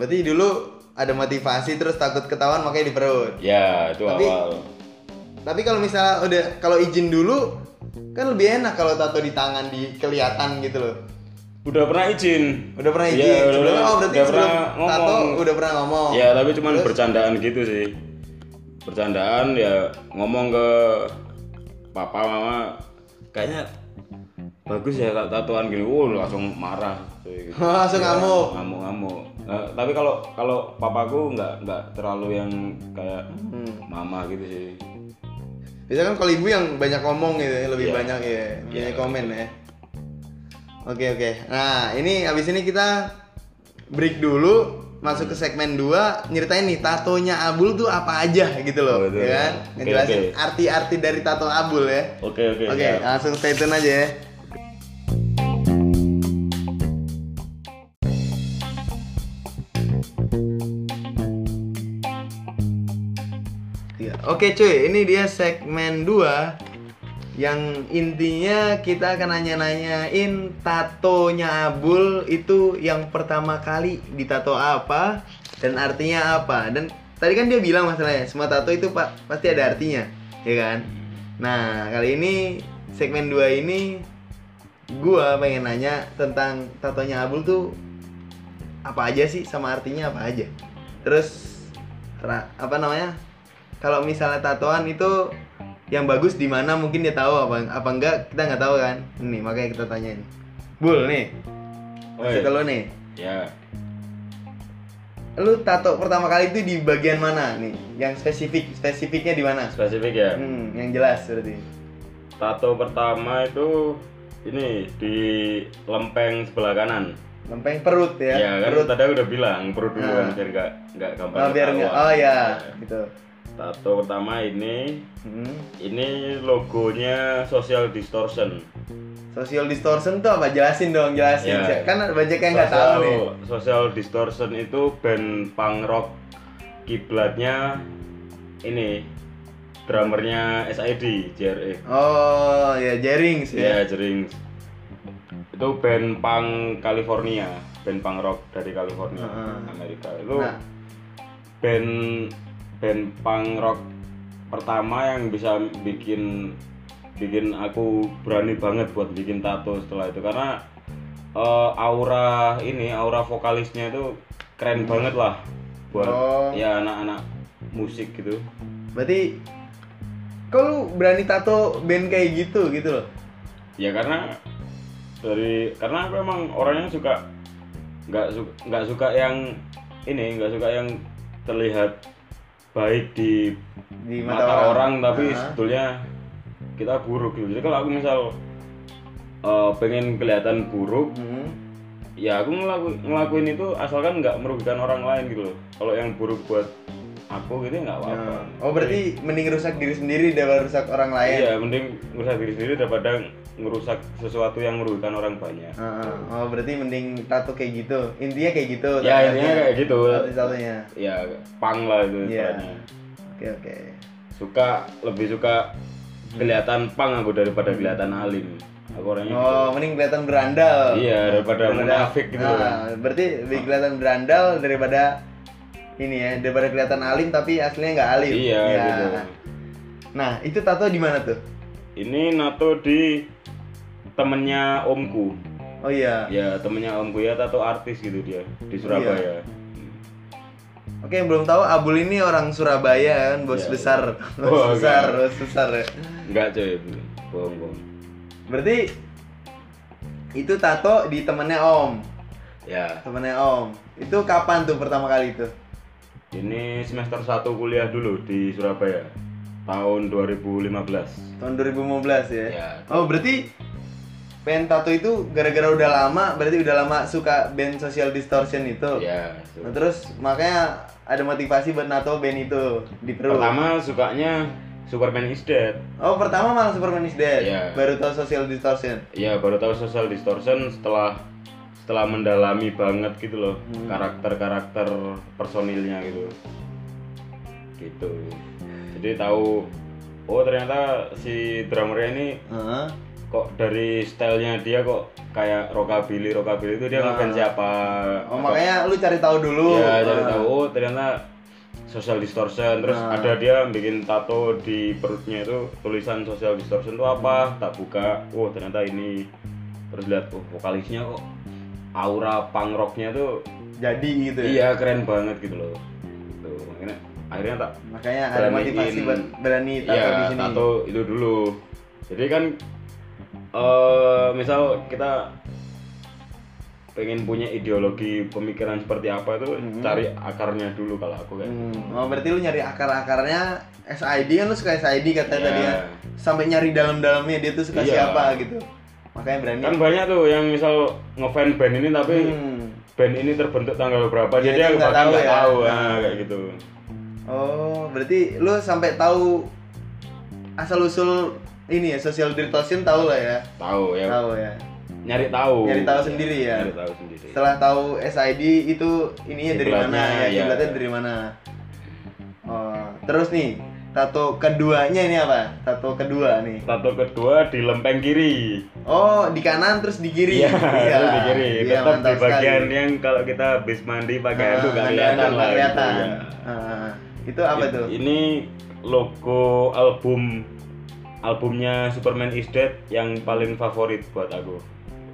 Speaker 1: Berarti dulu ada motivasi terus takut ketahuan makanya di perut.
Speaker 2: Ya, itu
Speaker 1: Tapi-
Speaker 2: awal.
Speaker 1: Tapi kalau misalnya udah kalau izin dulu kan lebih enak kalau tato di tangan di kelihatan gitu loh.
Speaker 2: Udah pernah izin.
Speaker 1: Udah pernah
Speaker 2: Iya,
Speaker 1: izin
Speaker 2: udah
Speaker 1: sebelumnya
Speaker 2: pernah-
Speaker 1: oh berarti
Speaker 2: udah
Speaker 1: sebelum
Speaker 2: pernah
Speaker 1: tato
Speaker 2: ngomong.
Speaker 1: udah pernah ngomong.
Speaker 2: Ya tapi cuman bercandaan gitu sih Bercandaan ya ngomong ke papa mama Kayaknya bagus ya kalau tatoan gini Wuh langsung marah gitu.
Speaker 1: Langsung ngamuk.
Speaker 2: Ngamuk-ngamuk Nah, Tapi kalau kalau papaku nggak nggak terlalu yang kayak mama gitu sih
Speaker 1: Biasanya kan kalau ibu yang banyak ngomong gitu ya,
Speaker 2: Iya.
Speaker 1: lebih banyak ya, banyak komen ya. Oke oke. Nah, ini abis ini kita break dulu masuk ke segmen 2 nyeritain nih tatonya Abul tuh apa aja gitu loh, ya
Speaker 2: Betul.
Speaker 1: kan?
Speaker 2: Oke,
Speaker 1: Ngejelasin
Speaker 2: oke.
Speaker 1: arti-arti dari tato Abul ya.
Speaker 2: Oke oke
Speaker 1: Oke, ah.
Speaker 2: siap.
Speaker 1: langsung stay tune aja ya. Iya. Oke cuy, ini dia segmen 2 yang intinya kita akan nanya-nanyain tatonya Abul itu yang pertama kali ditato apa dan artinya apa. Dan tadi kan dia bilang masalahnya semua tato itu pa- pasti ada artinya, ya kan? Nah, kali ini segmen 2 ini gua pengen nanya tentang tatonya Abul tuh apa aja sih sama artinya apa aja terus ra- apa namanya kalau misalnya tatoan itu yang bagus di mana mungkin dia tahu apa apa enggak kita nggak tahu kan nih makanya kita tanyain bul nih
Speaker 2: Oi,
Speaker 1: kasih ke lu nih
Speaker 2: Ya
Speaker 1: lu tato pertama kali itu di bagian mana nih yang spesifik spesifiknya di mana
Speaker 2: spesifik ya
Speaker 1: hmm, yang jelas berarti
Speaker 2: Tato pertama itu ini di lempeng sebelah kanan
Speaker 1: lempeng perut ya,
Speaker 2: Ya kan
Speaker 1: perut
Speaker 2: tadi aku udah bilang perut dulu
Speaker 1: Nah.
Speaker 2: biar nggak nggak gampang
Speaker 1: Oh, biar
Speaker 2: ketahuan.
Speaker 1: nggak- oh ya gitu
Speaker 2: Tato pertama ini
Speaker 1: Hmm.
Speaker 2: ini logonya Social Distortion.
Speaker 1: Social distortion tuh apa? Jelasin dong, jelasin.
Speaker 2: Ya.
Speaker 1: Kan banyak yang nggak tahu nih.
Speaker 2: Social- Social Distortion itu band punk rock kiblatnya ini drummernya SID JRE.
Speaker 1: Oh, ya jaring sih.
Speaker 2: Ya, jering. Itu band punk California, band punk rock dari California,
Speaker 1: Heeh.
Speaker 2: Amerika. Itu
Speaker 1: Nah.
Speaker 2: band band punk rock pertama yang bisa bikin bikin aku berani banget buat bikin tato setelah itu karena eh, aura ini aura vokalisnya itu keren banget lah buat
Speaker 1: Oh.
Speaker 2: ya anak-anak musik gitu
Speaker 1: Berarti kok lu berani tato band kayak gitu gitu loh.
Speaker 2: ya karena dari karena aku emang orangnya suka nggak suka nggak suka yang ini nggak suka yang terlihat baik di
Speaker 1: Di
Speaker 2: mata,
Speaker 1: mata
Speaker 2: orang,
Speaker 1: orang.
Speaker 2: tapi
Speaker 1: Ah.
Speaker 2: sebetulnya kita buruk gitu jadi kalau aku misal eh, pengen kelihatan buruk
Speaker 1: Hmm.
Speaker 2: ya aku ngelaku- ngelakuin itu asalkan nggak merugikan orang lain gitu loh kalau yang buruk buat aku gitu nggak apa-apa
Speaker 1: Nah. Oh, berarti mending rusak diri sendiri daripada rusak orang lain.
Speaker 2: iya mending ngerusak diri sendiri daripada ngerusak sesuatu yang merugikan orang banyak
Speaker 1: Heeh. Oh, berarti mending tato kayak gitu. Intinya kayak gitu.
Speaker 2: ya intinya kayak gitu
Speaker 1: Satu-satunya.
Speaker 2: ya pang lah itu
Speaker 1: Iya.
Speaker 2: istilahnya.
Speaker 1: Oke, oke.
Speaker 2: suka lebih suka kelihatan pang aku daripada kelihatan alim aku orangnya
Speaker 1: Oh, mending kelihatan berandal.
Speaker 2: iya daripada munafik gitu loh.
Speaker 1: Nah, berarti lebih kelihatan berandal daripada ini ya, daripada kelihatan alim tapi aslinya nggak alim.
Speaker 2: iya
Speaker 1: Ya.
Speaker 2: gitu
Speaker 1: Nah, itu tato di mana tuh?
Speaker 2: ini nato di temennya omku
Speaker 1: Oh iya.
Speaker 2: ya temennya omku ya tato artis gitu dia di Surabaya
Speaker 1: Oke, yang belum tahu Abul ini orang Surabaya kan, bos
Speaker 2: Iya.
Speaker 1: besar. Bos
Speaker 2: Oh,
Speaker 1: besar,
Speaker 2: enggak.
Speaker 1: bos besar ya.
Speaker 2: enggak coy bohong bohong
Speaker 1: Berarti itu tato di temennya Om.
Speaker 2: ya
Speaker 1: Temennya Om. Itu kapan tuh pertama kali itu?
Speaker 2: ini semester 1 kuliah dulu di Surabaya tahun 2015
Speaker 1: Tahun 2015 ya.
Speaker 2: Iya.
Speaker 1: Oh, berarti band tato itu gara-gara udah lama, berarti udah lama suka band Social Distortion itu.
Speaker 2: ya
Speaker 1: Nah, terus makanya ada motivasi buat nato band itu di perut.
Speaker 2: pertama sukanya Superman is Dead
Speaker 1: Oh, pertama malah Superman is Dead.
Speaker 2: Iya.
Speaker 1: Baru tahu Social Distortion.
Speaker 2: ya baru tahu social distortion setelah setelah mendalami banget gitu loh karakter-karakter personilnya gitu gitu jadi tahu oh ternyata si drummernya ini
Speaker 1: Heeh.
Speaker 2: kok dari stylenya dia kok kayak rockabilly rockabilly itu dia ngefans siapa
Speaker 1: Oh, makanya lu cari tahu dulu.
Speaker 2: ya cari tahu oh ternyata social distortion terus
Speaker 1: Nah.
Speaker 2: ada dia bikin tato di perutnya itu tulisan social distortion itu apa tak buka oh ternyata ini terus lihat oh vokalisnya kok aura punk rocknya tuh
Speaker 1: Jadi gitu ya.
Speaker 2: iya keren banget gitu loh gitu. Makanya, akhirnya tak
Speaker 1: Makanya ada
Speaker 2: Beraniin.
Speaker 1: motivasi buat berani tato di
Speaker 2: Iya,
Speaker 1: sini.
Speaker 2: tato itu dulu. Jadi kan eh misal kita pengen punya ideologi pemikiran seperti apa itu
Speaker 1: Mm-hmm.
Speaker 2: cari akarnya dulu kalau aku kan.
Speaker 1: Hmm. Oh, berarti lu nyari akar-akarnya SID kan lu suka SID katanya
Speaker 2: Iya.
Speaker 1: tadi ya. Sampai nyari dalam-dalamnya dia tuh suka
Speaker 2: Iya.
Speaker 1: siapa gitu. Makanya berani.
Speaker 2: Kan banyak tuh yang misal ngefan band ini tapi
Speaker 1: Hmm.
Speaker 2: band ini terbentuk tanggal berapa
Speaker 1: Iya,
Speaker 2: jadi
Speaker 1: dia
Speaker 2: aku
Speaker 1: nggak
Speaker 2: bakal
Speaker 1: tahu
Speaker 2: nggak
Speaker 1: ya.
Speaker 2: tahu, Nah, kayak gitu.
Speaker 1: Oh, berarti lu sampai tahu asal usul ini ya social distortion tahu lah ya.
Speaker 2: Tahu ya.
Speaker 1: Tahu ya.
Speaker 2: Nyari tahu.
Speaker 1: Nyari tahu sendiri ya.
Speaker 2: Nyari tahu sendiri.
Speaker 1: Setelah tahu SID itu ininya dari mana
Speaker 2: Kiblatnya,
Speaker 1: ya?
Speaker 2: iya.
Speaker 1: Kiblatnya dari mana? Oh, terus nih tato keduanya ini apa? Tato kedua nih.
Speaker 2: Tato kedua di lempeng kiri.
Speaker 1: Oh, di kanan terus di kiri.
Speaker 2: Iya, itu di kiri.
Speaker 1: Iya,
Speaker 2: Tetap di
Speaker 1: mantap
Speaker 2: bagian
Speaker 1: sekali.
Speaker 2: yang kalau kita habis mandi pakai
Speaker 1: Ah,
Speaker 2: handuk nggak
Speaker 1: ada
Speaker 2: kelihatan
Speaker 1: handuk,
Speaker 2: lah.
Speaker 1: nggak kelihatan.
Speaker 2: gitu, ya. Iya.
Speaker 1: Ah, itu apa tuh?
Speaker 2: Ini logo album albumnya Superman is Dead yang paling favorit buat aku.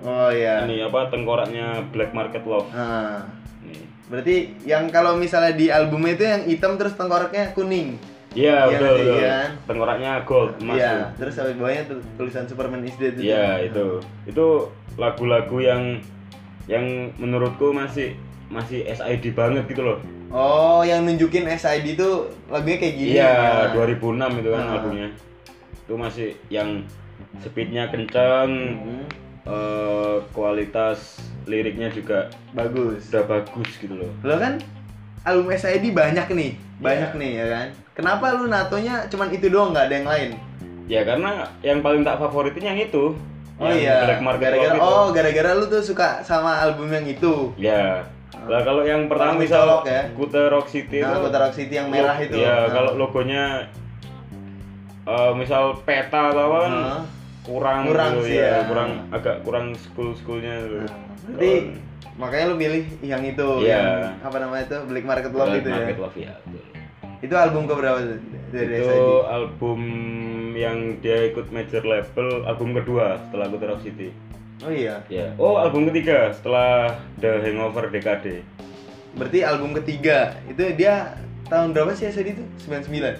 Speaker 1: Oh iya.
Speaker 2: Ini apa tengkoraknya Black Market Love.
Speaker 1: Ah.
Speaker 2: Ini.
Speaker 1: Berarti yang kalau misalnya di albumnya itu yang hitam terus tengkoraknya kuning. Iya,
Speaker 2: Iya betul.
Speaker 1: nanti,
Speaker 2: betul.
Speaker 1: iya.
Speaker 2: Tengkoraknya gold emas. tuh.
Speaker 1: Iya, terus sampai bawahnya tuh tulisan Superman is dead itu.
Speaker 2: Iya itu itu lagu-lagu yang yang menurutku masih masih SID banget gitu loh.
Speaker 1: Oh, yang nunjukin SID itu lagunya kayak gini. Nah.
Speaker 2: Iya, 2006 itu kan albumnya. Itu masih yang speednya kenceng,
Speaker 1: Hmm,
Speaker 2: eh, kualitas liriknya juga
Speaker 1: bagus.
Speaker 2: sudah bagus gitu loh. Iya.
Speaker 1: Lo kan album SID banyak nih, banyak nih ya kan. Kenapa lu natonya cuman itu doang nggak ada yang lain?
Speaker 2: Ya karena yang paling tak favoritin yang itu.
Speaker 1: Oh
Speaker 2: Yang
Speaker 1: iya.
Speaker 2: Black Market
Speaker 1: Gara-gara
Speaker 2: Club itu.
Speaker 1: oh gara-gara lu tuh suka sama album yang itu.
Speaker 2: Ya. Lah kalau yang pertama
Speaker 1: Orang
Speaker 2: misal
Speaker 1: mencolok ya.
Speaker 2: Kuta Rock City
Speaker 1: Nah,
Speaker 2: itu
Speaker 1: Kota Rock City yang merah itu. Nah.
Speaker 2: Ya, Iya, kalau logonya eh, misal peta atau apa kan
Speaker 1: Nah.
Speaker 2: kurang
Speaker 1: Kurang
Speaker 2: gitu,
Speaker 1: sih ya.
Speaker 2: kurang agak kurang school-schoolnya gitu.
Speaker 1: Nah, Berarti makanya lu pilih yang itu.
Speaker 2: Iya.
Speaker 1: yang apa namanya itu? Black Market Love itu ya.
Speaker 2: Market Love ya. betul.
Speaker 1: Itu album ke berapa tuh? Dari
Speaker 2: Itu
Speaker 1: SID.
Speaker 2: album yang dia ikut major label album kedua setelah Kuta Rock City.
Speaker 1: Oh iya.
Speaker 2: Ya. Oh, album ketiga setelah The Hangover DKD.
Speaker 1: Berarti album ketiga itu dia tahun berapa sih SID itu? 99.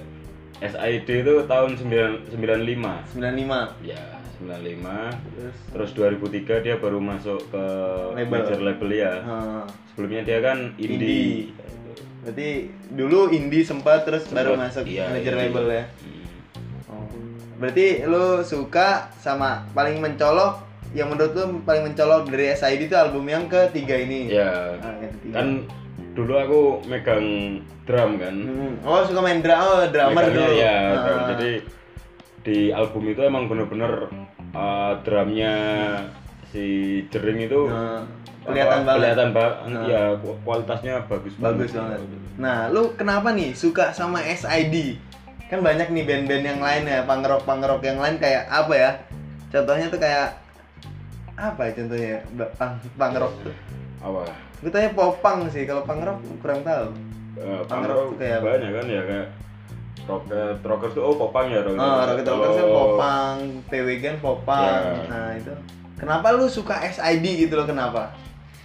Speaker 2: SID itu tahun 9 95.
Speaker 1: 95.
Speaker 2: Ya, 95.
Speaker 1: Terus
Speaker 2: Terus 2003 dia baru masuk ke
Speaker 1: Label.
Speaker 2: major label ya.
Speaker 1: eh,
Speaker 2: Sebelumnya dia kan indie.
Speaker 1: berarti dulu indie sempat terus baru
Speaker 2: Sempat,
Speaker 1: masuk
Speaker 2: iya,
Speaker 1: manager
Speaker 2: indie.
Speaker 1: label ya.
Speaker 2: Hmm.
Speaker 1: Oh. Berarti lu suka sama paling mencolok yang menurut lu paling mencolok dari SID itu album yang ketiga ini.
Speaker 2: Ya,
Speaker 1: Ah, yang ketiga.
Speaker 2: kan dulu aku megang drum kan.
Speaker 1: Hmm. Oh, suka main drum, oh, drummer
Speaker 2: Megangnya
Speaker 1: dulu.
Speaker 2: ya,
Speaker 1: Ah.
Speaker 2: drum. Jadi di album itu emang bener-bener uh, drumnya si Jering itu
Speaker 1: Nah, kelihatan
Speaker 2: apa,
Speaker 1: banget. Ah.
Speaker 2: Kelihatan ba- ya ku- kualitasnya bagus
Speaker 1: Bagus banget. Nah, lu kenapa nih suka sama SID? Kan banyak nih band-band yang lain ya, punk rock punk rock yang lain kayak apa ya? Contohnya tuh kayak apa ya contohnya ya? Ba- punk, punk rock tuh?
Speaker 2: Apa?
Speaker 1: Gue tanya popang sih, kalau punk rock kurang tahu.
Speaker 2: Uh,
Speaker 1: Punk
Speaker 2: punk
Speaker 1: rock
Speaker 2: rock
Speaker 1: tuh kayak apa?
Speaker 2: banyak kan ya kayak Rocket Rockers tuh oh popang ya Rocket
Speaker 1: Oh, Rocket Rockers kan
Speaker 2: Kalau-
Speaker 1: popang, PWG kan popang.
Speaker 2: Ya.
Speaker 1: Nah, itu. Kenapa lu suka SID gitu loh kenapa?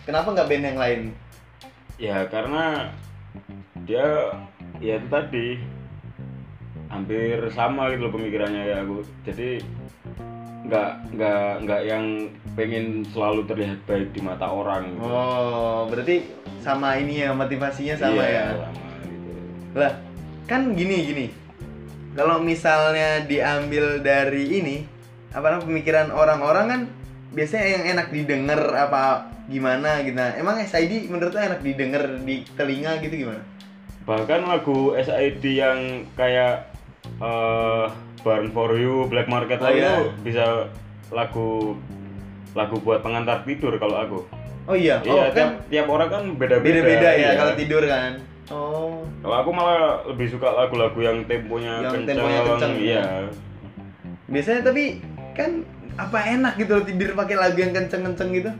Speaker 1: Kenapa nggak band yang lain?
Speaker 2: Ya karena dia ya itu tadi hampir sama gitu loh pemikirannya kayak aku. Jadi nggak nggak nggak yang pengen selalu terlihat baik di mata orang. Gitu.
Speaker 1: Oh, berarti sama ini ya motivasinya sama
Speaker 2: Iya,
Speaker 1: ya.
Speaker 2: Sama gitu.
Speaker 1: Lah, kan gini gini. Kalau misalnya diambil dari ini, apa namanya pemikiran orang-orang kan biasanya yang enak didengar apa gimana gitu. Nah, emang SID menurut lo enak didengar di telinga gitu gimana?
Speaker 2: Bahkan lagu SID yang kayak eh Burn for You, Black Market
Speaker 1: Oh,
Speaker 2: Love
Speaker 1: iya.
Speaker 2: itu bisa lagu lagu buat pengantar tidur kalau aku.
Speaker 1: Oh iya, oh
Speaker 2: iya, tiap,
Speaker 1: kan
Speaker 2: tiap orang kan beda-beda.
Speaker 1: beda-beda ya
Speaker 2: iya.
Speaker 1: kalau tidur kan. Oh.
Speaker 2: Kalau aku malah lebih suka lagu-lagu yang temponya
Speaker 1: Yang
Speaker 2: kencang.
Speaker 1: temponya ya. kencang,
Speaker 2: Iya.
Speaker 1: Biasanya tapi kan apa enak gitu loh tidur pakai lagu yang kenceng-kenceng gitu?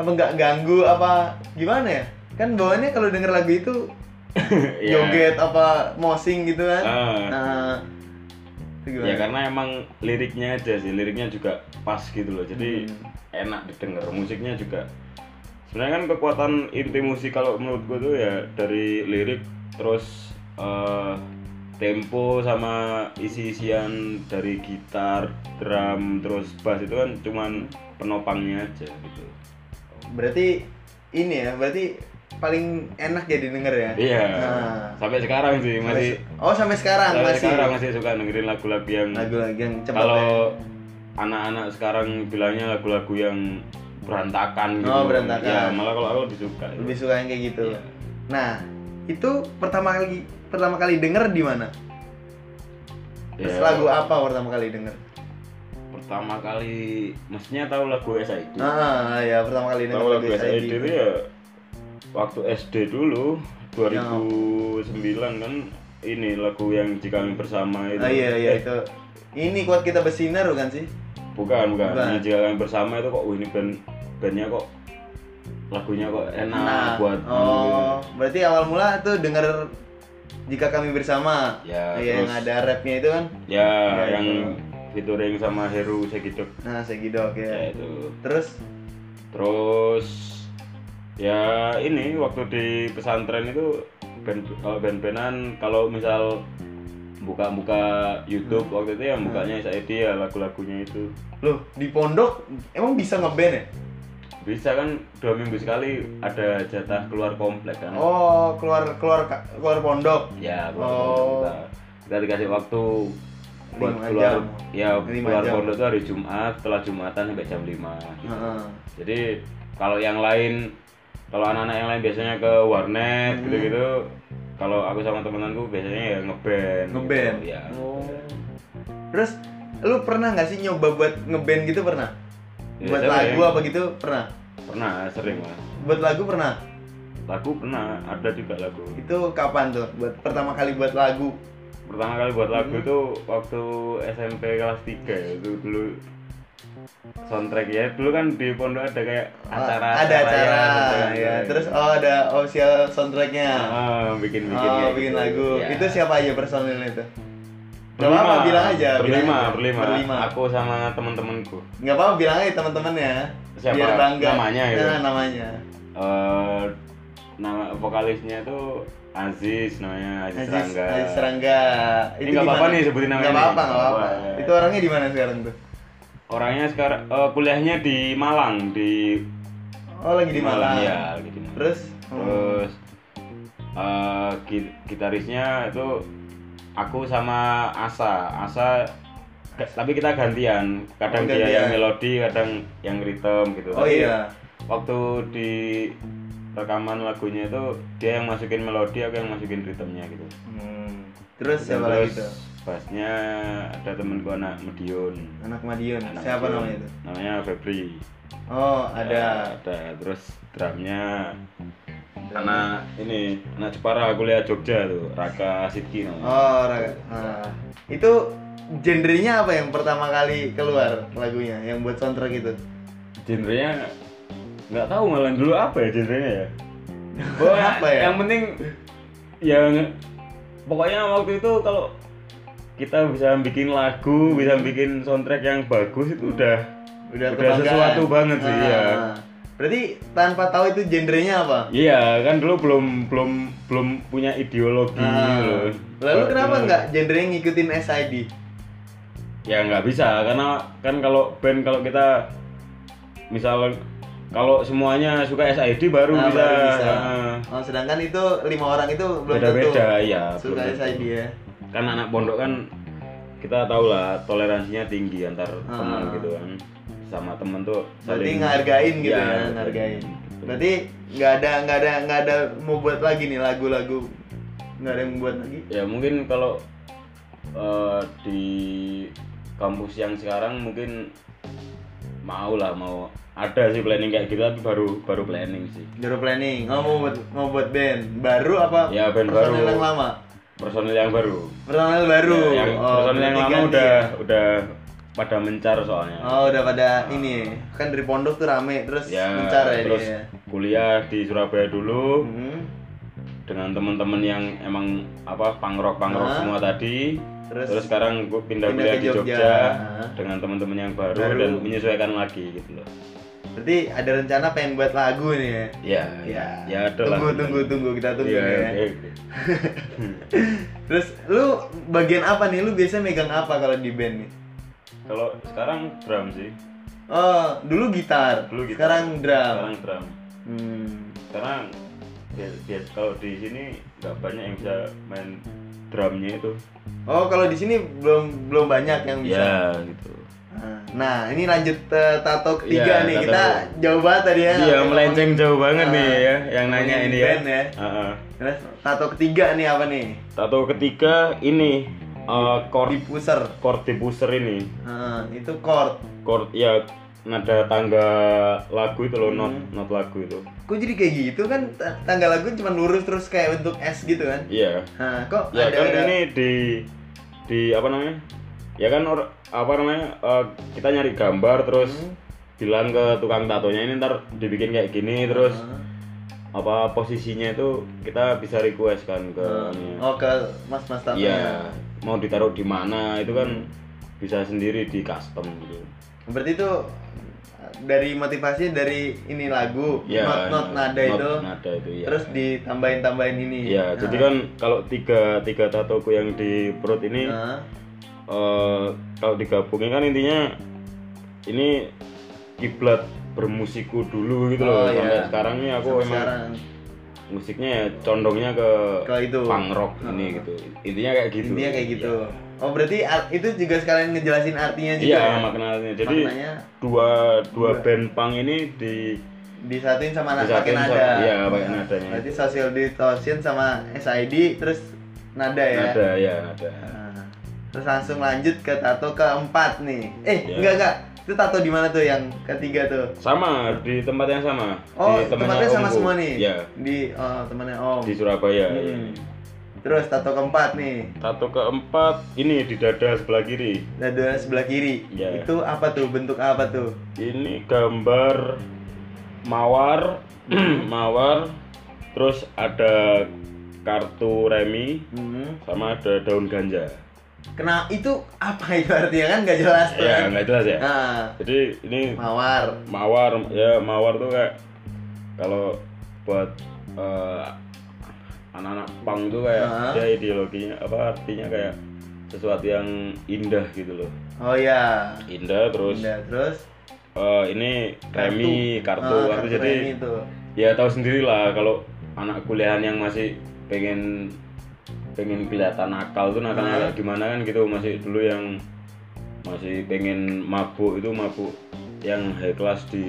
Speaker 1: Apa nggak ganggu apa gimana ya? Kan bawaannya kalau denger lagu itu
Speaker 2: Iya.
Speaker 1: joget apa mosing gitu kan?
Speaker 2: Ah.
Speaker 1: Nah, itu gimana?
Speaker 2: Ya karena emang liriknya aja sih, liriknya juga pas gitu loh. Jadi
Speaker 1: Hmm.
Speaker 2: enak didengar, musiknya juga. Sebenarnya kan kekuatan inti musik kalau menurut gue tuh ya dari lirik terus eh, tempo sama isi-isian dari gitar, drum, terus bass itu kan cuman penopangnya aja gitu.
Speaker 1: Berarti ini ya, berarti paling enak ya didengar ya?
Speaker 2: Iya.
Speaker 1: Nah.
Speaker 2: Sampai sekarang sih masih
Speaker 1: Oh sampai sekarang
Speaker 2: Sampai
Speaker 1: masih
Speaker 2: sekarang masih suka dengerin lagu-lagu yang
Speaker 1: lagu lagi yang cepat ya?
Speaker 2: kalau anak-anak sekarang bilangnya lagu-lagu yang berantakan gitu.
Speaker 1: Oh, berantakan.
Speaker 2: Ya, malah kalau aku lebih suka. ya.
Speaker 1: lebih suka yang kayak gitu. Nah itu pertama kali pertama kali denger di mana? Terus
Speaker 2: Ya,
Speaker 1: lagu apa pertama kali denger?
Speaker 2: Pertama kali mestinya tahu lagu SID.
Speaker 1: Ah ya pertama kali denger
Speaker 2: tahu lagu SID
Speaker 1: SID.
Speaker 2: itu ya waktu SD dulu 2009 kan ini lagu yang jika kami bersama itu. Eh,
Speaker 1: Ah iya iya itu. Ini kuat kita bersinar bukan sih?
Speaker 2: Bukan, bukan.
Speaker 1: Bukan.
Speaker 2: Nah, jika kami bersama itu kok wah ini band bandnya kok lagunya kok enak buat
Speaker 1: Nah, Oh, berarti awal mula tuh denger jika kami bersama.
Speaker 2: Ya,
Speaker 1: Iya, yang
Speaker 2: terus-
Speaker 1: ada rapnya itu kan.
Speaker 2: Ya,
Speaker 1: Ya,
Speaker 2: yang
Speaker 1: itu.
Speaker 2: featuring sama Heru Segidok
Speaker 1: Nah, segidok ya.
Speaker 2: ya itu.
Speaker 1: Terus
Speaker 2: Terus ya ini waktu di pesantren itu band kalau band-bandan kalau misal buka-buka YouTube
Speaker 1: Hmm.
Speaker 2: waktu itu ya bukanya SID ya lagu-lagunya itu
Speaker 1: loh di pondok emang bisa ngeband ya?
Speaker 2: bisa kan dua minggu sekali ada jatah keluar komplek kan
Speaker 1: Oh, keluar keluar keluar pondok.
Speaker 2: ya keluar
Speaker 1: Oh.
Speaker 2: komplek kita, kita dikasih waktu buat
Speaker 1: Lima
Speaker 2: keluar
Speaker 1: jam.
Speaker 2: ya
Speaker 1: Lima
Speaker 2: keluar
Speaker 1: jam.
Speaker 2: pondok itu hari Jumat setelah Jumatan sampai jam 5 gitu.
Speaker 1: Heeh.
Speaker 2: Jadi
Speaker 1: Hmm.
Speaker 2: kalau yang lain kalau anak-anak yang lain biasanya ke warnet gitu-gitu kalau aku sama temenanku biasanya ya ngeband
Speaker 1: Ngeband? Oh.
Speaker 2: gitu, ya
Speaker 1: Terus lu pernah nggak sih nyoba buat ngeband gitu pernah?
Speaker 2: Ya,
Speaker 1: buat
Speaker 2: saya
Speaker 1: lagu
Speaker 2: yang-
Speaker 1: apa gitu pernah?
Speaker 2: pernah sering lah
Speaker 1: Buat lagu pernah?
Speaker 2: lagu pernah ada juga lagu
Speaker 1: Itu kapan tuh? Buat pertama kali buat lagu?
Speaker 2: pertama kali buat lagu
Speaker 1: Hmm.
Speaker 2: itu waktu SMP kelas 3 ya, itu dulu soundtrack ya dulu kan di pondok ada kayak acara
Speaker 1: Ah, ada acara,
Speaker 2: gitu
Speaker 1: ya. Terus oh ada official soundtracknya.
Speaker 2: Ah, bikin bikin
Speaker 1: oh
Speaker 2: kayak
Speaker 1: bikin
Speaker 2: gitu.
Speaker 1: lagu.
Speaker 2: Ya.
Speaker 1: Itu siapa aja personilnya itu? Gak
Speaker 2: Berlima,
Speaker 1: apa-apa bilang aja.
Speaker 2: berlima
Speaker 1: bilang aja.
Speaker 2: berlima
Speaker 1: Berlima.
Speaker 2: aku sama temen-temenku
Speaker 1: Gak apa-apa bilang aja teman-temannya.
Speaker 2: Siapa
Speaker 1: Biar bangga.
Speaker 2: namanya gitu?
Speaker 1: Nah, namanya.
Speaker 2: Eh, nama vokalisnya itu Aziz namanya Aziz,
Speaker 1: Aziz
Speaker 2: Rangga
Speaker 1: Aziz Serangga.
Speaker 2: Ini nggak apa-apa nih sebutin namanya
Speaker 1: Gak
Speaker 2: nih.
Speaker 1: apa-apa, gak apa-apa.
Speaker 2: Nggak apa-apa.
Speaker 1: Itu orangnya di mana sekarang tuh?
Speaker 2: orangnya sekarang eh, kuliahnya di Malang di
Speaker 1: Oh lagi di Malang.
Speaker 2: ya lagi di Malang.
Speaker 1: Terus
Speaker 2: terus eh, gi- gitarisnya itu aku sama Asa Asa ke- tapi kita gantian
Speaker 1: Oh,
Speaker 2: kadang dia
Speaker 1: gantian.
Speaker 2: yang melodi kadang yang ritme gitu
Speaker 1: Oh
Speaker 2: Tapi
Speaker 1: iya.
Speaker 2: waktu di rekaman lagunya itu dia yang masukin melodi aku yang masukin ritmenya gitu
Speaker 1: Hmm. Terus
Speaker 2: Dan
Speaker 1: siapa lagi tuh?
Speaker 2: bassnya ada temen gua anak Medion
Speaker 1: Anak Madiun.
Speaker 2: Anak
Speaker 1: siapa
Speaker 2: Medion.
Speaker 1: namanya itu?
Speaker 2: namanya Febri
Speaker 1: Oh, ada.
Speaker 2: ada terus drumnya anak ini anak Jepara kuliah Jogja tuh Raka Sidki namanya
Speaker 1: Oh, Raga. Ah. Itu genrenya apa yang pertama kali keluar lagunya yang buat soundtrack itu?
Speaker 2: genrenya nggak tahu malah dulu apa ya genrenya ya Pokoknya
Speaker 1: Apa ya?
Speaker 2: yang penting yang pokoknya waktu itu kalau kita bisa bikin lagu bisa bikin soundtrack yang bagus itu udah
Speaker 1: Udah,
Speaker 2: udah
Speaker 1: kebanggaan.
Speaker 2: sesuatu banget sih
Speaker 1: Ah.
Speaker 2: ya
Speaker 1: Berarti tanpa tahu itu genrenya apa?
Speaker 2: iya kan dulu belum belum belum punya ideologi
Speaker 1: Ah.
Speaker 2: gitu loh.
Speaker 1: Lalu
Speaker 2: Kalau
Speaker 1: kenapa
Speaker 2: dulu-
Speaker 1: nggak genrenya ngikutin SID?
Speaker 2: ya nggak bisa karena kan kalau band kalau kita misal kalau semuanya suka SID baru
Speaker 1: Nah,
Speaker 2: bisa,
Speaker 1: baru bisa.
Speaker 2: Ah,
Speaker 1: Oh, sedangkan itu lima orang itu belum
Speaker 2: beda-beda ya
Speaker 1: tentu suka SID ya.
Speaker 2: kan anak pondok kan kita tahu lah toleransinya tinggi antar
Speaker 1: Ah.
Speaker 2: teman gitu kan sama temen tuh
Speaker 1: Berarti
Speaker 2: saling- Iya,
Speaker 1: ngehargain gitu ya,
Speaker 2: betul.
Speaker 1: ngehargain. Berarti nggak ada nggak ada nggak ada mau buat lagi nih lagu-lagu nggak ada yang buat lagi.
Speaker 2: ya mungkin kalau eh, di kampus yang sekarang mungkin mau lah mau ada sih planning kayak gitu tapi baru baru planning sih
Speaker 1: Baru planning, oh, mau buat mau buat band baru apa?
Speaker 2: Ya, band
Speaker 1: personil
Speaker 2: baru.
Speaker 1: yang lama,
Speaker 2: personil yang baru
Speaker 1: personil baru. Oh,
Speaker 2: Ya, yang personil yang
Speaker 1: berarti
Speaker 2: lama
Speaker 1: ganti
Speaker 2: udah
Speaker 1: ya.
Speaker 2: udah pada mencar soalnya
Speaker 1: Oh udah pada ini kan dari pondok tuh rame terus
Speaker 2: ya
Speaker 1: mencar ya
Speaker 2: terus
Speaker 1: dia.
Speaker 2: kuliah di Surabaya dulu
Speaker 1: Hmm,
Speaker 2: dengan teman-teman yang emang apa pangrok pangrok
Speaker 1: Hah?
Speaker 2: semua tadi
Speaker 1: Terus-
Speaker 2: terus, sekarang gue pindah,
Speaker 1: pindah
Speaker 2: kuliah
Speaker 1: ke
Speaker 2: di Jogja,
Speaker 1: Jogja. Hah?
Speaker 2: dengan teman-teman yang baru,
Speaker 1: Baru.
Speaker 2: dan menyesuaikan lagi gitu loh
Speaker 1: Berarti ada rencana pengen buat lagu nih ya.
Speaker 2: ya
Speaker 1: Ya.
Speaker 2: ya ada lah
Speaker 1: tunggu tunggu tunggu kita tunggu
Speaker 2: ya,
Speaker 1: ya.
Speaker 2: oke, oke.
Speaker 1: Terus lu bagian apa nih? Lu biasanya megang apa kalau di band nih?
Speaker 2: kalau sekarang drum sih
Speaker 1: Oh, dulu gitar,
Speaker 2: Dulu gitar.
Speaker 1: sekarang drum.
Speaker 2: sekarang drum
Speaker 1: Hmm.
Speaker 2: sekarang bias, bias- kalau di sini nggak banyak yang bisa main drumnya itu
Speaker 1: Oh, kalau di sini belum belum banyak yang bisa.
Speaker 2: ya gitu
Speaker 1: Nah, ini lanjut eh, tato ketiga
Speaker 2: Iya,
Speaker 1: nih.
Speaker 2: tato.
Speaker 1: Kita jauh banget tadi ya.
Speaker 2: Iya melenceng jauh banget nih ya yang nanya
Speaker 1: ngomongin
Speaker 2: ini ya.
Speaker 1: band ya.
Speaker 2: Heeh.
Speaker 1: Terus tato ketiga nih apa nih?
Speaker 2: Tato ketiga ini eh, chord
Speaker 1: Di pusar.
Speaker 2: chord di pusher ini.
Speaker 1: Nah, itu chord.
Speaker 2: Chord ya nada tangga lagu itu loh not
Speaker 1: Hmm.
Speaker 2: not lagu itu.
Speaker 1: Kok jadi kayak gitu kan Ta- tangga lagu cuma lurus terus kayak bentuk S gitu kan?
Speaker 2: Iya.
Speaker 1: Nah, kok
Speaker 2: Ya
Speaker 1: ada
Speaker 2: kan
Speaker 1: ada
Speaker 2: ini di di apa namanya? Ya kan or- apa namanya? eh, kita nyari gambar terus
Speaker 1: Hmm.
Speaker 2: bilang ke tukang tatonya ini ntar dibikin kayak gini terus
Speaker 1: Hmm.
Speaker 2: apa posisinya itu kita bisa request kan ke anunya.
Speaker 1: Oh, ke mas-mas tato. ya.
Speaker 2: Iya, mau ditaruh di mana itu kan bisa sendiri di custom gitu.
Speaker 1: Berarti itu dari motivasinya dari ini lagu,
Speaker 2: Iya,
Speaker 1: not not nada
Speaker 2: not-
Speaker 1: itu.
Speaker 2: Nada itu ya.
Speaker 1: Terus ditambahin-tambahin ini.
Speaker 2: Iya, jadi kan kalau tiga tiga tatoku yang di perut ini
Speaker 1: Nah,
Speaker 2: eh, kalau digabungin kan intinya ini kiblat bermusikku dulu gitu
Speaker 1: Oh,
Speaker 2: loh. Sampai
Speaker 1: iya.
Speaker 2: sekarang nih aku Oh, emang gitu.
Speaker 1: sekarang
Speaker 2: musiknya ya condongnya ke
Speaker 1: Ke itu.
Speaker 2: punk rock ini gitu. Intinya kayak gitu.
Speaker 1: intinya kayak gitu.
Speaker 2: Iya.
Speaker 1: Oh, berarti ar- itu juga sekalian Gitu ya. ngejelasin artinya juga.
Speaker 2: Iya,
Speaker 1: ya?
Speaker 2: maknanya. Jadi
Speaker 1: Maknanya
Speaker 2: dua dua band punk ini di
Speaker 1: disatuin sama anak
Speaker 2: Disatuin
Speaker 1: pakai
Speaker 2: sama-
Speaker 1: nada.
Speaker 2: iya, pakai nadanya.
Speaker 1: Berarti social distortion sama SID terus nada ya.
Speaker 2: Nada ya, nada.
Speaker 1: Nah, Terus langsung lanjut ke tato keempat nih. Eh,
Speaker 2: Iya.
Speaker 1: enggak enggak. Itu tato di mana tuh yang ketiga tuh?
Speaker 2: Sama di tempat yang sama.
Speaker 1: Oh,
Speaker 2: di temannya
Speaker 1: tempatnya sama
Speaker 2: omku.
Speaker 1: semua nih.
Speaker 2: Iya,
Speaker 1: Di oh, temannya Om.
Speaker 2: di Surabaya.
Speaker 1: Hmm.
Speaker 2: ini.
Speaker 1: Terus tato keempat nih.
Speaker 2: Tato keempat ini di dada sebelah kiri.
Speaker 1: Dada sebelah kiri.
Speaker 2: Iya.
Speaker 1: Itu apa tuh? Bentuk apa tuh?
Speaker 2: Ini gambar mawar, mawar. Terus ada kartu remi
Speaker 1: Hmm.
Speaker 2: sama ada daun ganja.
Speaker 1: Kena itu apa itu artinya kan nggak jelas tuh.
Speaker 2: Ya,
Speaker 1: kan?
Speaker 2: nggak jelas ya.
Speaker 1: Nah,
Speaker 2: Jadi ini
Speaker 1: mawar.
Speaker 2: mawar ya mawar tuh kayak kalau buat eh, anak-anak pang tuh kayak
Speaker 1: Ah.
Speaker 2: ya ideologinya apa artinya kayak sesuatu yang indah gitu loh
Speaker 1: Oh ya.
Speaker 2: indah terus
Speaker 1: Nah, terus
Speaker 2: eh, ini remi kartu,
Speaker 1: Ah,
Speaker 2: kartu, jadi
Speaker 1: remi itu.
Speaker 2: ya tahu sendirilah kalau anak kuliahan yang masih pengen pengen kelihatan nakal tuh nakal nakal gimana kan gitu masih dulu yang masih pengen mabuk itu mabuk yang high class di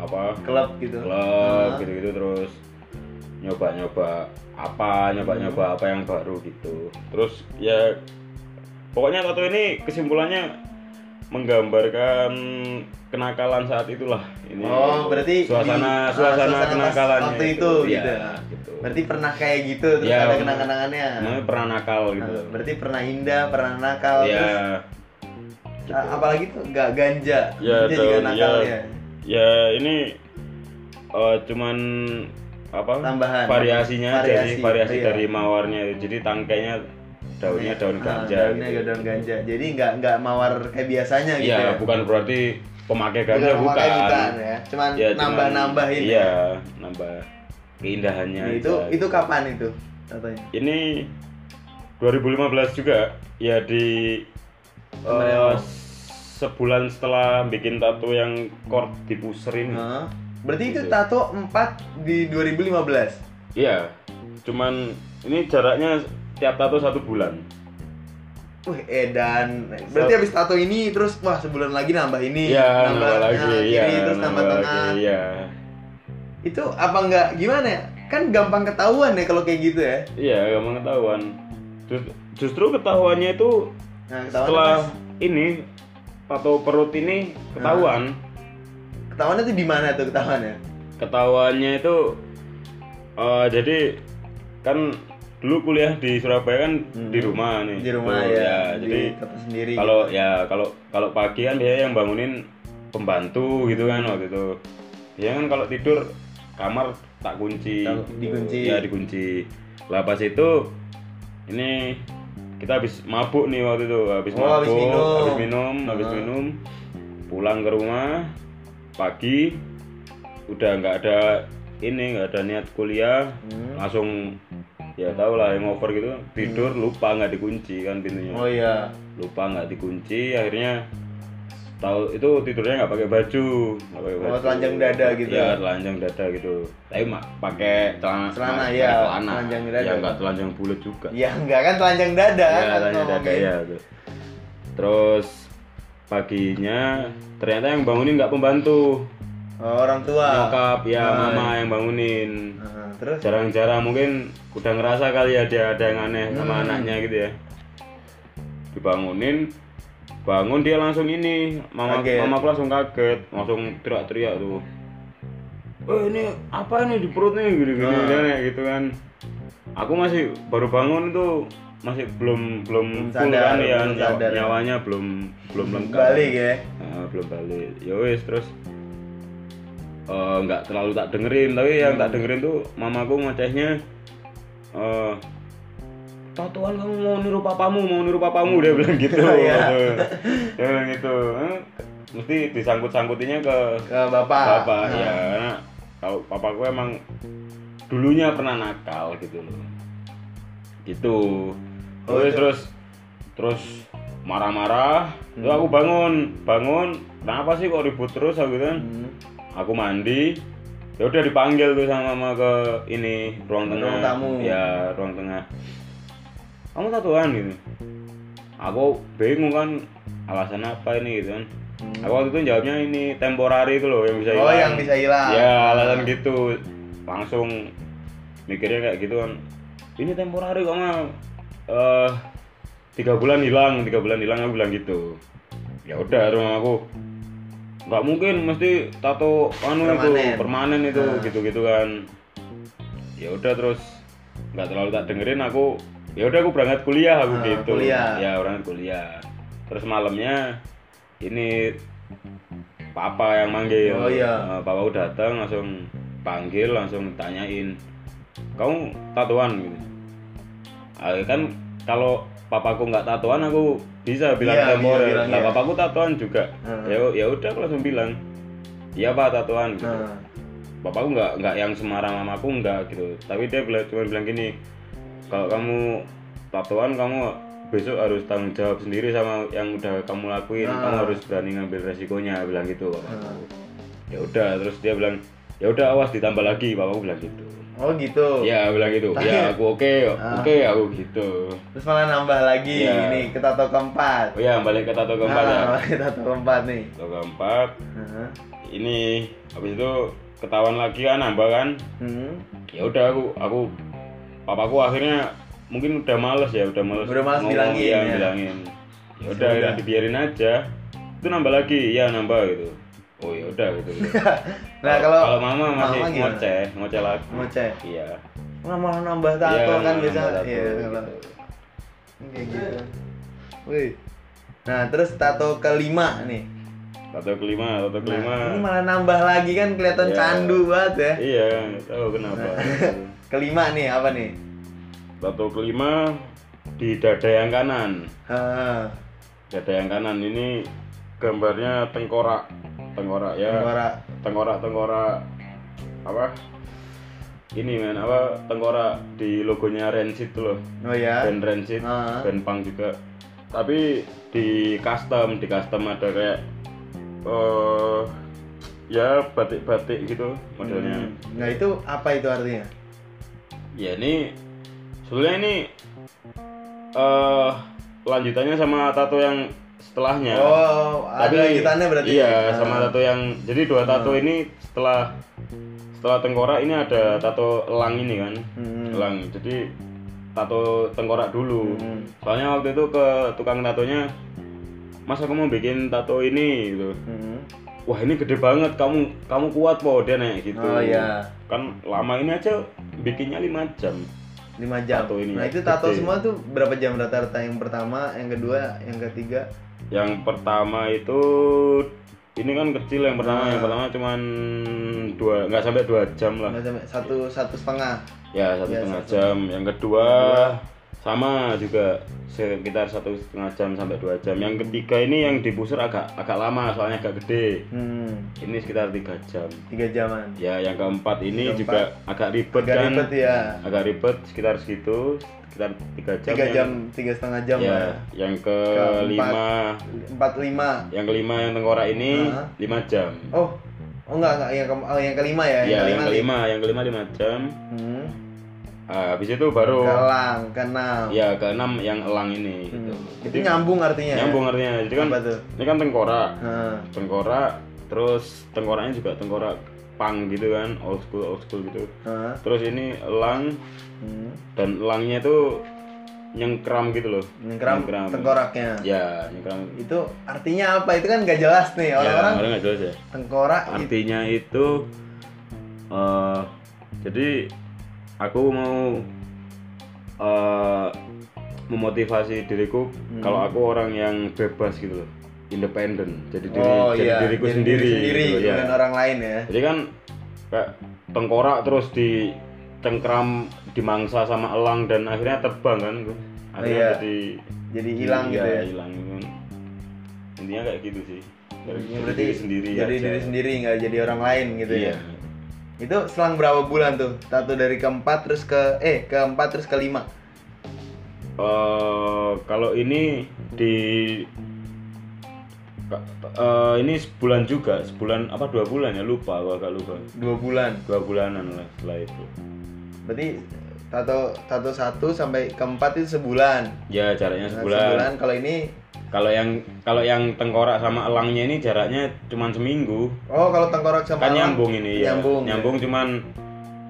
Speaker 2: apa
Speaker 1: klub gitu.
Speaker 2: klub gitu-gitu terus nyoba-nyoba apa nyoba-nyoba apa yang baru gitu terus ya pokoknya tato ini kesimpulannya menggambarkan kenakalan saat itulah ini
Speaker 1: Oh, berarti di- ah,
Speaker 2: suasana suasana,
Speaker 1: pas
Speaker 2: kenakalannya
Speaker 1: waktu itu, gitu.
Speaker 2: ya, gitu.
Speaker 1: Berarti pernah kayak gitu terus
Speaker 2: Ya,
Speaker 1: ada
Speaker 2: bener.
Speaker 1: kenang-kenangannya.
Speaker 2: Namanya pernah nakal gitu
Speaker 1: Nah, berarti pernah indah, pernah nakal
Speaker 2: ya
Speaker 1: terus ah, apalagi tuh nggak ganja.
Speaker 2: ya
Speaker 1: Ganja
Speaker 2: tahu
Speaker 1: juga
Speaker 2: ya
Speaker 1: nakal ya.
Speaker 2: ya ini eh, cuman apa
Speaker 1: Tambahan.
Speaker 2: variasinya
Speaker 1: Variasi,
Speaker 2: jadi variasi
Speaker 1: iya.
Speaker 2: dari mawarnya jadi tangkainya daunnya daun
Speaker 1: Ah,
Speaker 2: ganja
Speaker 1: daunnya
Speaker 2: gitu.
Speaker 1: agak daun ganja. Jadi nggak nggak mawar kayak biasanya gitu.
Speaker 2: ya bukan berarti pemakai ganja
Speaker 1: Bukan
Speaker 2: bukan,
Speaker 1: memakai, bukan ya. Cuman
Speaker 2: Ya, cuman-
Speaker 1: nambah-nambahin.
Speaker 2: iya nambah keindahannya
Speaker 1: Nah, itu
Speaker 2: aja.
Speaker 1: itu kapan itu? Katanya.
Speaker 2: ini 2015 juga ya di eh, sebulan setelah bikin tato yang kord di pusher ini
Speaker 1: Hah? Berarti itu tato 4 di 2015.
Speaker 2: Iya, cuman ini jaraknya tiap tato satu bulan.
Speaker 1: Wih, edan. Berarti habis tato ini terus wah sebulan lagi nambah ini,
Speaker 2: Iya, nambah,
Speaker 1: nah,
Speaker 2: lagi,
Speaker 1: kiri,
Speaker 2: iya,
Speaker 1: terus nambah, tengah.
Speaker 2: lagi, iya.
Speaker 1: Itu apa enggak gimana ya? Kan gampang ketahuan ya kalau kayak gitu ya.
Speaker 2: Iya, gampang ketahuan. Just- justru ketahuannya itu
Speaker 1: Nah, ketahuan
Speaker 2: setelah ini tato perut
Speaker 1: Ah.
Speaker 2: ini ketahuan.
Speaker 1: ketahuannya tuh di mana tuh ya? ketahuannya?
Speaker 2: Ketahuannya itu eh, jadi kan dulu kuliah di Surabaya kan di rumah nih.
Speaker 1: Hmm. Di rumah
Speaker 2: Tuh,
Speaker 1: ya, di
Speaker 2: jadi
Speaker 1: tato sendiri.
Speaker 2: kalau ya kalau kalau pagi kan biasanya yang bangunin pembantu gitu kan waktu itu biasanya kan kalau tidur kamar tak kunci
Speaker 1: Tak- dikunci.
Speaker 2: ya dikunci lah pas itu ini kita habis mabuk nih waktu itu habis
Speaker 1: Oh,
Speaker 2: mabuk
Speaker 1: habis minum.
Speaker 2: habis minum habis minum pulang ke rumah pagi udah nggak ada ini nggak ada niat kuliah
Speaker 1: Hmm.
Speaker 2: langsung ya tau lah yang over gitu
Speaker 1: Hmm.
Speaker 2: tidur lupa nggak dikunci kan pintunya
Speaker 1: Oh iya.
Speaker 2: lupa nggak dikunci akhirnya tahu itu tidurnya nggak pakai baju nggak pakai
Speaker 1: Oh,
Speaker 2: baju
Speaker 1: telanjang dada gitu
Speaker 2: ya telanjang dada gitu tapi mak pakai celana
Speaker 1: Celana,
Speaker 2: pakai
Speaker 1: ya,
Speaker 2: celana
Speaker 1: telanjang dada.
Speaker 2: ya nggak telanjang bulat juga
Speaker 1: Ya enggak kan telanjang dada kan
Speaker 2: ya
Speaker 1: kalau
Speaker 2: telanjang dada
Speaker 1: ngomongin.
Speaker 2: ya tuh. terus paginya ternyata yang bangunin nggak pembantu
Speaker 1: Oh, orang tua.
Speaker 2: nyokap ya mama yang bangunin
Speaker 1: Nah, terus
Speaker 2: jarang-jarang mungkin udah ngerasa kali ya dia ada yang aneh
Speaker 1: Hmm.
Speaker 2: sama anaknya gitu ya dibangunin bangun dia langsung ini mama
Speaker 1: Kaget.
Speaker 2: mamaku langsung kaget langsung teriak-teriak tuh eh ini apa ini di perut nih gini-gini
Speaker 1: Hmm.
Speaker 2: dan ya gitu kan aku masih baru bangun tuh masih belum belum, full
Speaker 1: sadar,
Speaker 2: kan ya
Speaker 1: belum
Speaker 2: nyawa-
Speaker 1: sadar.
Speaker 2: nyawanya belum belum lengkap
Speaker 1: balik ya.
Speaker 2: Nah, belum balik ya wis terus eh, nggak terlalu tak dengerin tapi yang tak dengerin tuh mamaku ngocehnya eh tatuan kamu mau niru papamu mau niru papamu dia bilang gitu
Speaker 1: Iya.
Speaker 2: dia bilang gitu Eh, mesti disangkut-sangkutinnya ke
Speaker 1: Ke bapak.
Speaker 2: bapak ya karena kalau papaku emang dulunya pernah nakal gitu loh gitu
Speaker 1: Oh, iya.
Speaker 2: terus terus terus marah-marah terus
Speaker 1: Hmm.
Speaker 2: aku bangun bangun kenapa sih kok ribut terus aku gitu kan
Speaker 1: Hmm,
Speaker 2: aku mandi ya udah dipanggil tuh sama mama ke ini ruang tengah
Speaker 1: Ruang tamu.
Speaker 2: ya ruang tengah kamu tatuan gitu aku bingung kan alasan apa ini gitu kan Aku waktu itu jawabnya ini temporari itu loh yang bisa
Speaker 1: oh
Speaker 2: hilang.
Speaker 1: yang bisa hilang
Speaker 2: Ya alasan gitu. Langsung mikirnya kayak gitu kan. Ini temporari kok mah eh tiga bulan hilang, tiga bulan hilang aku bilang gitu. Ya udah rumah aku nggak mungkin mesti tato anu
Speaker 1: Permanen. Ah.
Speaker 2: itu permanen itu gitu-gitu kan. Ya udah terus nggak terlalu tak dengerin aku ya udah aku berangkat kuliah aku
Speaker 1: Ah,
Speaker 2: gitu
Speaker 1: kuliah.
Speaker 2: ya orang kuliah terus malamnya ini papa yang manggil
Speaker 1: Oh, iya.
Speaker 2: Eh, papa aku datang langsung panggil langsung tanyain kamu tatoan gitu Ah, kan kalau papaku nggak tatoan aku bisa bilang
Speaker 1: Iya,
Speaker 2: ke
Speaker 1: bisa
Speaker 2: Morel.
Speaker 1: bilang,
Speaker 2: nah
Speaker 1: iya.
Speaker 2: papaku tatoan juga
Speaker 1: Hmm.
Speaker 2: ya ya udah aku langsung bilang iya pak tatoan gitu
Speaker 1: Nah,
Speaker 2: bapakku nggak nggak yang Semarang mamaku nggak gitu tapi dia bilang cuma bilang gini kalau kamu tatoan kamu besok harus tanggung jawab sendiri sama yang udah kamu lakuin kamu harus berani ngambil resikonya bilang gitu bapakku ya udah terus dia bilang ya udah awas ditambah lagi bapakku bilang gitu
Speaker 1: oh gitu
Speaker 2: ya bilang gitu ya aku oke oke aku gitu
Speaker 1: terus malah nambah lagi
Speaker 2: Iya.
Speaker 1: ini ke tato keempat
Speaker 2: oh ya balik ke tato keempat ya
Speaker 1: nah, ke tato keempat nih
Speaker 2: tato keempat
Speaker 1: Heeh.
Speaker 2: ini habis itu ketahuan lagi kan nambah kan
Speaker 1: Hmm.
Speaker 2: ya udah aku aku papaku akhirnya mungkin udah males ya udah males
Speaker 1: Udah males
Speaker 2: ngomong,
Speaker 1: bilangin
Speaker 2: iya,
Speaker 1: ya.
Speaker 2: bilangin ya udah akhirnya dibiarin aja itu nambah lagi ya nambah gitu oh ya udah gitu
Speaker 1: nah kalau
Speaker 2: kalau mama masih
Speaker 1: mama gimana?
Speaker 2: ngoceh ngoceh lagi
Speaker 1: ngoceh
Speaker 2: iya
Speaker 1: Nah, malah nambah
Speaker 2: Iya,
Speaker 1: tato kan
Speaker 2: nambah
Speaker 1: biasa
Speaker 2: tato,
Speaker 1: iya kalau
Speaker 2: gitu.
Speaker 1: kayak gitu Wih. nah terus tato kelima nih
Speaker 2: tato kelima tato kelima
Speaker 1: Nah, ini malah nambah lagi kan kelihatan
Speaker 2: Iya.
Speaker 1: candu banget ya Nah.
Speaker 2: iya nggak tahu kenapa
Speaker 1: kelima nih apa nih
Speaker 2: tato kelima di dada yang kanan
Speaker 1: Heeh.
Speaker 2: dada yang kanan ini gambarnya tengkorak tengkorak ya
Speaker 1: tengkorak
Speaker 2: tengkorak tengkorak apa ini men apa tengkorak di logonya Rancid tuh loh
Speaker 1: oh ya
Speaker 2: band Rancid
Speaker 1: Ah.
Speaker 2: band punk juga tapi di custom di custom ada kayak eh ya batik-batik gitu modelnya
Speaker 1: nah itu apa itu artinya
Speaker 2: ya ini sebenarnya ini eh lanjutannya sama tato yang setelahnya
Speaker 1: oh ada lanjutannya berarti
Speaker 2: Ya. iya
Speaker 1: Nah, Hmm.
Speaker 2: sama tato yang jadi dua tato ini setelah setelah tengkorak ini ada tato elang ini kan
Speaker 1: Hmm.
Speaker 2: elang jadi tato tengkorak dulu
Speaker 1: Hmm.
Speaker 2: soalnya waktu itu ke tukang tatonya mas aku mau bikin tato ini gitu
Speaker 1: Hmm.
Speaker 2: wah ini gede banget kamu kamu kuat po dia nanya gitu
Speaker 1: oh ya
Speaker 2: kan lama ini aja bikinnya lima jam
Speaker 1: 5 jam.
Speaker 2: Tato ini
Speaker 1: nah, itu
Speaker 2: gede.
Speaker 1: tato semua tuh berapa jam rata-rata yang pertama, yang kedua, yang ketiga?
Speaker 2: yang pertama itu ini kan kecil yang pertama
Speaker 1: Hmm.
Speaker 2: yang pertama cuman dua nggak sampai dua jam lah
Speaker 1: Nggak sampai satu satu setengah.
Speaker 2: Ya satu
Speaker 1: Ya,
Speaker 2: setengah jam. Yang kedua sama juga sekitar satu setengah jam sampai dua jam. Yang ketiga ini yang di pusher agak agak lama soalnya agak gede.
Speaker 1: Hmm,
Speaker 2: Ini sekitar tiga jam.
Speaker 1: 3 jaman.
Speaker 2: Ya yang keempat ini juga agak ribet
Speaker 1: Agak
Speaker 2: kan.
Speaker 1: ribet ya.
Speaker 2: Agak ribet sekitar segitu sekitar tiga jam.
Speaker 1: 3
Speaker 2: yang-
Speaker 1: jam, tiga setengah jam
Speaker 2: Ya
Speaker 1: lah.
Speaker 2: yang kelima
Speaker 1: 4 5.
Speaker 2: yang kelima yang tengkorak ini
Speaker 1: Hah?
Speaker 2: lima jam.
Speaker 1: Oh. Oh enggak, enggak yang ke, oh, yang kelima ya,
Speaker 2: ya yang
Speaker 1: nih.
Speaker 2: kelima yang kelima lima jam.
Speaker 1: Hmm.
Speaker 2: Ah, habis itu baru
Speaker 1: Kelang, kenal.
Speaker 2: ya keenam yang elang ini. gitu.
Speaker 1: Itu nyambung artinya. ya?
Speaker 2: Nyambung artinya. Jadi kan
Speaker 1: Apa tuh?
Speaker 2: ini kan tengkorak
Speaker 1: Nah,
Speaker 2: tengkorak terus tengkoraknya juga tengkorak pang gitu kan old school old school gitu
Speaker 1: nah.
Speaker 2: terus ini elang
Speaker 1: Hmm.
Speaker 2: dan elangnya itu nyengkram gitu loh
Speaker 1: Nyengkram tengkoraknya.
Speaker 2: ya nyengkram
Speaker 1: Itu artinya apa? Itu kan nggak jelas nih orang-orang
Speaker 2: ya, orang nggak jelas ya
Speaker 1: tengkorak gitu. itu
Speaker 2: artinya itu eh jadi aku mau eh memotivasi diriku
Speaker 1: Hmm.
Speaker 2: kalau aku orang yang bebas gitu loh independen jadi diri
Speaker 1: oh
Speaker 2: jadi
Speaker 1: iya
Speaker 2: diriku
Speaker 1: jadi
Speaker 2: sendiri,
Speaker 1: diri sendiri
Speaker 2: gitu, ya.
Speaker 1: bukan orang lain ya
Speaker 2: jadi kan kayak tengkorak terus di cengkram dimangsa sama elang dan akhirnya terbang kan akhirnya
Speaker 1: Iya.
Speaker 2: jadi
Speaker 1: jadi hilang
Speaker 2: iya,
Speaker 1: gitu ya
Speaker 2: hilang gitu kan. intinya kayak gitu sih Dari-
Speaker 1: Ya,
Speaker 2: dari
Speaker 1: berarti
Speaker 2: diri sendiri
Speaker 1: jadi
Speaker 2: aja.
Speaker 1: diri sendiri nggak jadi orang lain gitu
Speaker 2: iya.
Speaker 1: ya itu selang berapa bulan tuh tato dari keempat terus ke eh keempat terus kelima
Speaker 2: Eh, kalau ini di eh, ini sebulan juga sebulan apa dua bulan ya lupa aku agak lupa
Speaker 1: dua bulan
Speaker 2: dua bulanan lah setelah itu
Speaker 1: berarti tato tato satu sampai keempat itu sebulan
Speaker 2: ya caranya
Speaker 1: Nah,
Speaker 2: sebulan
Speaker 1: kalau ini
Speaker 2: Kalau yang kalau yang tengkorak sama elangnya ini jaraknya cuma seminggu.
Speaker 1: Oh, kalau tengkorak sama
Speaker 2: Kan
Speaker 1: elang,
Speaker 2: nyambung ini ya.
Speaker 1: Nyambung.
Speaker 2: cuman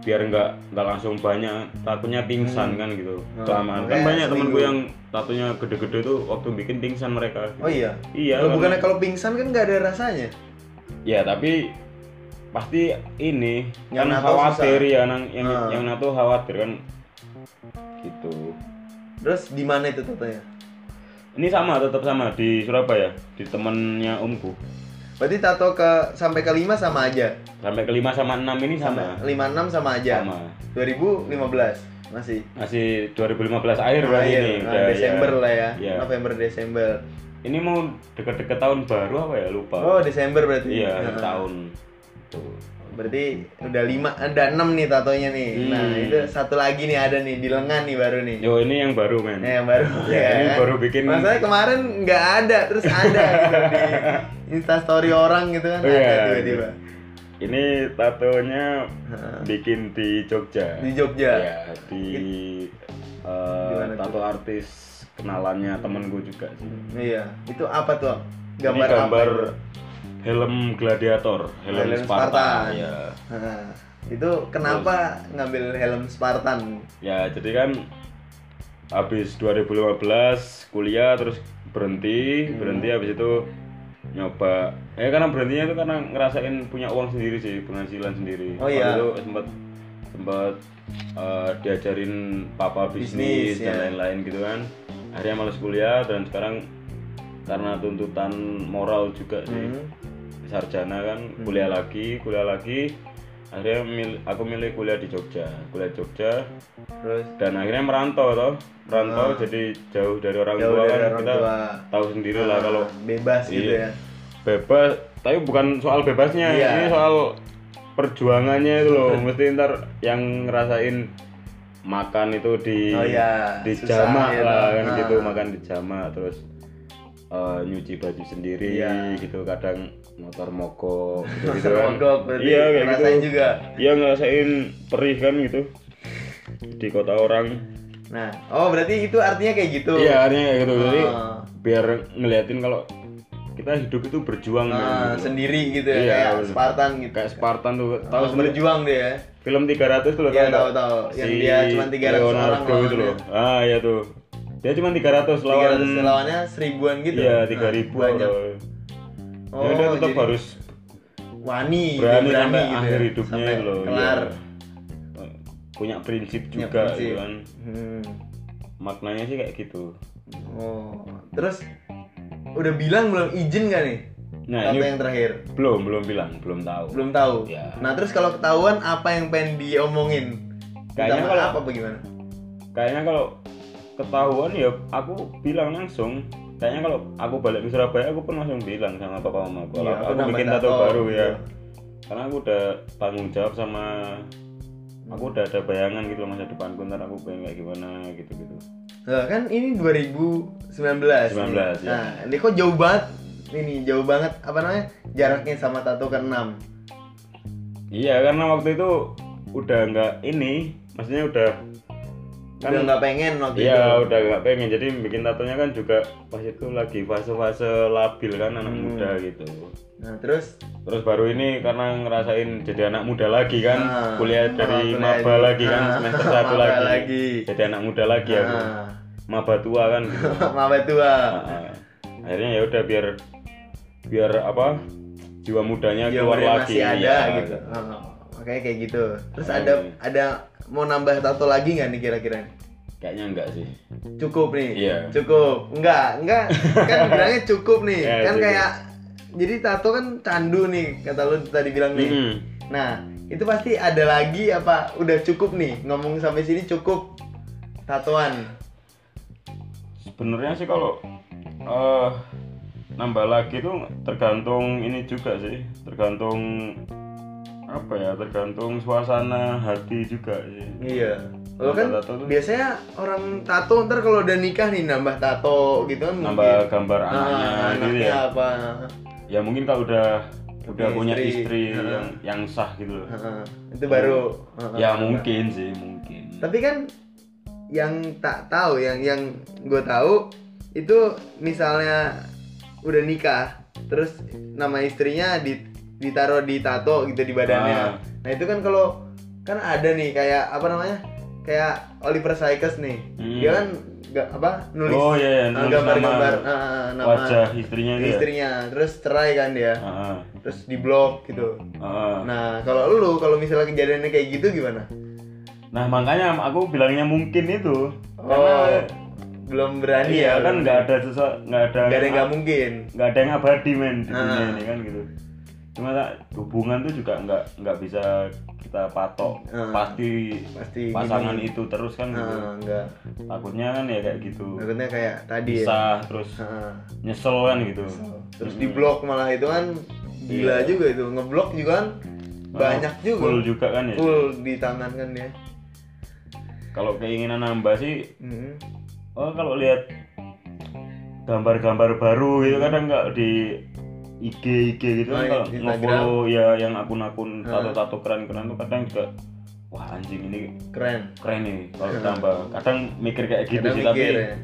Speaker 2: biar nggak nggak langsung banyak takutnya pingsan kan gitu kelamaan kan
Speaker 1: makanya Hmm. Oh. Iya,
Speaker 2: banyak temen
Speaker 1: seminggu.
Speaker 2: gue yang tatunya gede-gede tuh waktu bikin pingsan mereka
Speaker 1: Oh iya.
Speaker 2: iya
Speaker 1: Loh,
Speaker 2: karena-
Speaker 1: bukannya kalau pingsan kan nggak ada rasanya.
Speaker 2: ya tapi pasti ini
Speaker 1: Yang
Speaker 2: yang kan
Speaker 1: nato
Speaker 2: khawatir
Speaker 1: susah.
Speaker 2: ya nang- yang
Speaker 1: Ah.
Speaker 2: yang nato khawatir kan gitu
Speaker 1: Terus di mana itu tatonya?
Speaker 2: ini sama tetap sama di Surabaya di temennya omku
Speaker 1: Berarti tato ke sampai ke 5 sama aja.
Speaker 2: sampai kelima sama enam ini sama
Speaker 1: 56 sama aja.
Speaker 2: sama
Speaker 1: 2015 masih.
Speaker 2: masih 2015 akhir berarti
Speaker 1: Akhir,
Speaker 2: ini
Speaker 1: nah,
Speaker 2: udah, ya.
Speaker 1: Desember lah ya.
Speaker 2: Iya.
Speaker 1: November Desember.
Speaker 2: ini mau deket-deket tahun baru apa ya lupa
Speaker 1: Oh, Desember berarti.
Speaker 2: iya akhir
Speaker 1: Nah,
Speaker 2: tahun Tuh.
Speaker 1: Berarti udah 5 ada 6 nih tatonya nih. Nah,
Speaker 2: Hmm.
Speaker 1: itu satu lagi nih ada nih di lengan nih baru nih.
Speaker 2: yo ini yang baru men
Speaker 1: Eh, yang baru
Speaker 2: Ya, ini
Speaker 1: kan?
Speaker 2: baru bikin-
Speaker 1: Masalahnya kemarin nggak ada, terus ada gitu di Insta story orang gitu kan
Speaker 2: Oh,
Speaker 1: ada
Speaker 2: iya.
Speaker 1: tiba-tiba.
Speaker 2: ini tatonya bikin di Jogja
Speaker 1: Di Jogja.
Speaker 2: ya di eh,
Speaker 1: Iya. Gimana
Speaker 2: tato artis kenalannya temen gue juga sih Ini
Speaker 1: Iya, itu apa tuh? Om? Gambar,
Speaker 2: gambar
Speaker 1: apa? itu?
Speaker 2: helm gladiator helm,
Speaker 1: Helm
Speaker 2: Sparta,
Speaker 1: Spartan.
Speaker 2: ya
Speaker 1: Nah, itu kenapa ngambil helm Spartan?
Speaker 2: ya jadi kan habis 2015 kuliah terus
Speaker 1: Hmm.
Speaker 2: berhenti berhenti habis itu nyoba eh karena berhentinya itu karena ngerasain punya uang sendiri sih penghasilan sendiri
Speaker 1: Oh, iya.
Speaker 2: Waktu itu sempat sempat eh, diajarin papa bisnis,
Speaker 1: Bisnis,
Speaker 2: dan
Speaker 1: ya.
Speaker 2: lain-lain gitu kan akhirnya males kuliah dan sekarang karena tuntutan moral juga sih
Speaker 1: Hmm,
Speaker 2: sarjana kan kuliah lagi kuliah lagi akhirnya mil- aku milih kuliah di Jogja kuliah di Jogja
Speaker 1: Terus
Speaker 2: dan akhirnya merantau toh merantau jadi jauh dari orang
Speaker 1: Ah. Jauh
Speaker 2: tua
Speaker 1: dari
Speaker 2: kan
Speaker 1: orang
Speaker 2: kita
Speaker 1: tua. Ah.
Speaker 2: tahu sendiri lah kalau
Speaker 1: bebas gitu ya.
Speaker 2: Iya. bebas tapi bukan soal bebasnya
Speaker 1: Iya.
Speaker 2: ini soal perjuangannya itu loh mesti ntar yang ngerasain makan itu di
Speaker 1: Oh iya,
Speaker 2: di
Speaker 1: susah
Speaker 2: jamak
Speaker 1: ya,
Speaker 2: lah
Speaker 1: toh.
Speaker 2: kan
Speaker 1: Ah.
Speaker 2: gitu makan di jamak terus eh, nyuci baju sendiri
Speaker 1: Iya.
Speaker 2: gitu kadang motor mogok gitu, gitu kan
Speaker 1: Mogok berarti
Speaker 2: iya kayak gitu
Speaker 1: ngerasain juga.
Speaker 2: iya ngerasain perih kan gitu di kota orang
Speaker 1: Nah, oh berarti itu artinya kayak gitu.
Speaker 2: Iya artinya kayak gitu jadi
Speaker 1: Ah.
Speaker 2: biar ngeliatin kalau kita hidup itu berjuang
Speaker 1: Nah,
Speaker 2: men, gitu.
Speaker 1: sendiri gitu ya,
Speaker 2: Iya,
Speaker 1: kayak
Speaker 2: bener.
Speaker 1: Spartan gitu.
Speaker 2: kayak Spartan tuh tahu
Speaker 1: Harus berjuang dia ya.
Speaker 2: film 300 tuh loh
Speaker 1: Iya,
Speaker 2: tau nggak?
Speaker 1: tahu, tahu. Yang dia cuma 300 orang
Speaker 2: Leonardo itu
Speaker 1: lawannya.
Speaker 2: loh ah iya tuh dia cuma 300 lawan
Speaker 1: 300 lawannya seribuan gitu.
Speaker 2: iya
Speaker 1: Nah,
Speaker 2: 3000 ribu
Speaker 1: banyak.
Speaker 2: ya dia
Speaker 1: Oh,
Speaker 2: tetap
Speaker 1: jadi-
Speaker 2: harus
Speaker 1: Wani,
Speaker 2: berani,
Speaker 1: dia
Speaker 2: sampai
Speaker 1: gitu
Speaker 2: akhir
Speaker 1: ya,
Speaker 2: hidupnya
Speaker 1: sampai
Speaker 2: itu loh
Speaker 1: Kelar.
Speaker 2: iya. punya prinsip juga
Speaker 1: prinsip.
Speaker 2: gitu kan
Speaker 1: Hmm.
Speaker 2: maknanya sih kayak gitu
Speaker 1: Oh, terus udah bilang belum izin gak nih?
Speaker 2: nah
Speaker 1: Tato
Speaker 2: ini
Speaker 1: yang terakhir
Speaker 2: belum belum bilang belum tahu
Speaker 1: belum tahu.
Speaker 2: Iya.
Speaker 1: Nah terus kalau ketahuan apa yang pengen diomongin? Minta
Speaker 2: Kayaknya
Speaker 1: maaf
Speaker 2: kalau-
Speaker 1: apa apa gimana?
Speaker 2: kayaknya kalau ketahuan ya aku bilang langsung kayaknya kalau aku balik ke Surabaya aku pun langsung bilang sama papa mama aku kalau
Speaker 1: Iya, aku
Speaker 2: aku,
Speaker 1: nambah
Speaker 2: bikin
Speaker 1: tato.
Speaker 2: tato baru
Speaker 1: Iya.
Speaker 2: ya karena aku udah tanggung jawab sama aku udah ada bayangan gitu loh masa depanku ntar aku pengen kayak gimana gitu gitu
Speaker 1: Lah, kan ini 2019.
Speaker 2: 19,
Speaker 1: nih.
Speaker 2: ya.
Speaker 1: Nah ini kok jauh banget ini jauh banget apa namanya jaraknya sama tato ke 6
Speaker 2: iya karena waktu itu udah nggak ini maksudnya udah kan
Speaker 1: udah nggak pengen waktu itu.
Speaker 2: Iya udah nggak pengen jadi bikin tatonya kan juga pas itu lagi fase-fase labil kan anak
Speaker 1: Hmm.
Speaker 2: muda gitu
Speaker 1: Nah terus
Speaker 2: Terus baru ini karena ngerasain jadi anak muda lagi kan,
Speaker 1: Ah,
Speaker 2: kuliah
Speaker 1: kuliah
Speaker 2: dari maba
Speaker 1: lagi.
Speaker 2: lagi kan,
Speaker 1: Ah,
Speaker 2: semester satu
Speaker 1: maba
Speaker 2: lagi.
Speaker 1: lagi.
Speaker 2: Jadi anak muda lagi aku.
Speaker 1: ah,
Speaker 2: Maba tua kan gitu.
Speaker 1: maba Nah, tua.
Speaker 2: Ah, akhirnya ya udah biar biar apa? Jiwa mudanya
Speaker 1: Jiwa
Speaker 2: keluar
Speaker 1: muda
Speaker 2: lagi.
Speaker 1: masih ada
Speaker 2: Iya. Nah,
Speaker 1: gitu. Ah, makanya kayak gitu. Terus ada ada mau nambah tato lagi nggak nih kira-kira? nih?
Speaker 2: Kayaknya enggak sih.
Speaker 1: cukup nih
Speaker 2: Iya.
Speaker 1: cukup enggak enggak kan bilangnya cukup nih
Speaker 2: Iya,
Speaker 1: kan
Speaker 2: cukup.
Speaker 1: kayak jadi tato kan candu nih kata lu tadi bilang nih
Speaker 2: Mm-mm.
Speaker 1: nah itu pasti ada lagi apa udah cukup nih ngomong sampai sini cukup tatoan
Speaker 2: Sebenarnya sih kalau eh nambah lagi tuh tergantung ini juga sih, tergantung apa ya, tergantung suasana hati juga sih.
Speaker 1: iya lo kan
Speaker 2: Nambah tato tuh.
Speaker 1: biasanya orang tato ntar kalau udah nikah nih nambah tato gitu kan
Speaker 2: nambah gambar
Speaker 1: mungkin.
Speaker 2: anaknya
Speaker 1: Ah,
Speaker 2: gitu
Speaker 1: anaknya
Speaker 2: ya.
Speaker 1: apa
Speaker 2: Ya mungkin kalau udah udah
Speaker 1: Punya
Speaker 2: punya
Speaker 1: istri.
Speaker 2: istri, yang yang sah gitu loh.
Speaker 1: Heeh, itu baru Heeh.
Speaker 2: Ya mungkin sih, mungkin.
Speaker 1: tapi kan yang tak tahu yang yang gue tahu itu misalnya udah nikah terus nama istrinya di ditaruh di tato gitu di badannya
Speaker 2: Ah.
Speaker 1: nah itu kan kalau kan ada nih kayak apa namanya kayak Oliver Sykes nih
Speaker 2: Hmm.
Speaker 1: dia kan nggak apa nulis
Speaker 2: Oh, iya, iya,
Speaker 1: eh,
Speaker 2: nulis
Speaker 1: gambar-gambar eh,
Speaker 2: nama-
Speaker 1: eh, nama
Speaker 2: wajah istrinya dia.
Speaker 1: istrinya terus cerai kan dia
Speaker 2: Heeh.
Speaker 1: terus di blok gitu
Speaker 2: Heeh.
Speaker 1: nah kalau lu kalau misalnya kejadiannya kayak gitu gimana
Speaker 2: Nah makanya aku bilangnya mungkin itu
Speaker 1: oh
Speaker 2: karena
Speaker 1: belum berani ya
Speaker 2: iya kan nggak ada sesuatu nggak ada
Speaker 1: nggak ada yang nggak mungkin
Speaker 2: nggak ada yang abadi men di dunia
Speaker 1: Nah.
Speaker 2: ini kan gitu cuma tak- hubungan tuh juga nggak nggak bisa kita patok
Speaker 1: Nah.
Speaker 2: pasti
Speaker 1: pasti gini.
Speaker 2: pasangan itu terus kan gitu.
Speaker 1: Ah, enggak
Speaker 2: takutnya kan ya kayak gitu
Speaker 1: maksudnya kayak tadi ya
Speaker 2: pisah terus
Speaker 1: Ah,
Speaker 2: nyesel kan gitu
Speaker 1: terus di blok malah itu kan gila juga itu ngeblok juga kan banyak juga
Speaker 2: Iya. full juga kan ya
Speaker 1: full di tangan kan ya
Speaker 2: kalau keinginan nambah sih
Speaker 1: Mm.
Speaker 2: oh kalau lihat gambar-gambar baru gitu kadang nggak di IG IG gitu
Speaker 1: Oh,
Speaker 2: kan
Speaker 1: iya,
Speaker 2: kalau
Speaker 1: di
Speaker 2: nge-follow ya yang akun-akun tato-tato keren-keren tuh kadang juga wah anjing ini
Speaker 1: keren
Speaker 2: keren nih kalau tambah kadang mikir kayak gitu
Speaker 1: Kadang
Speaker 2: sih
Speaker 1: mikir
Speaker 2: tapi
Speaker 1: ya.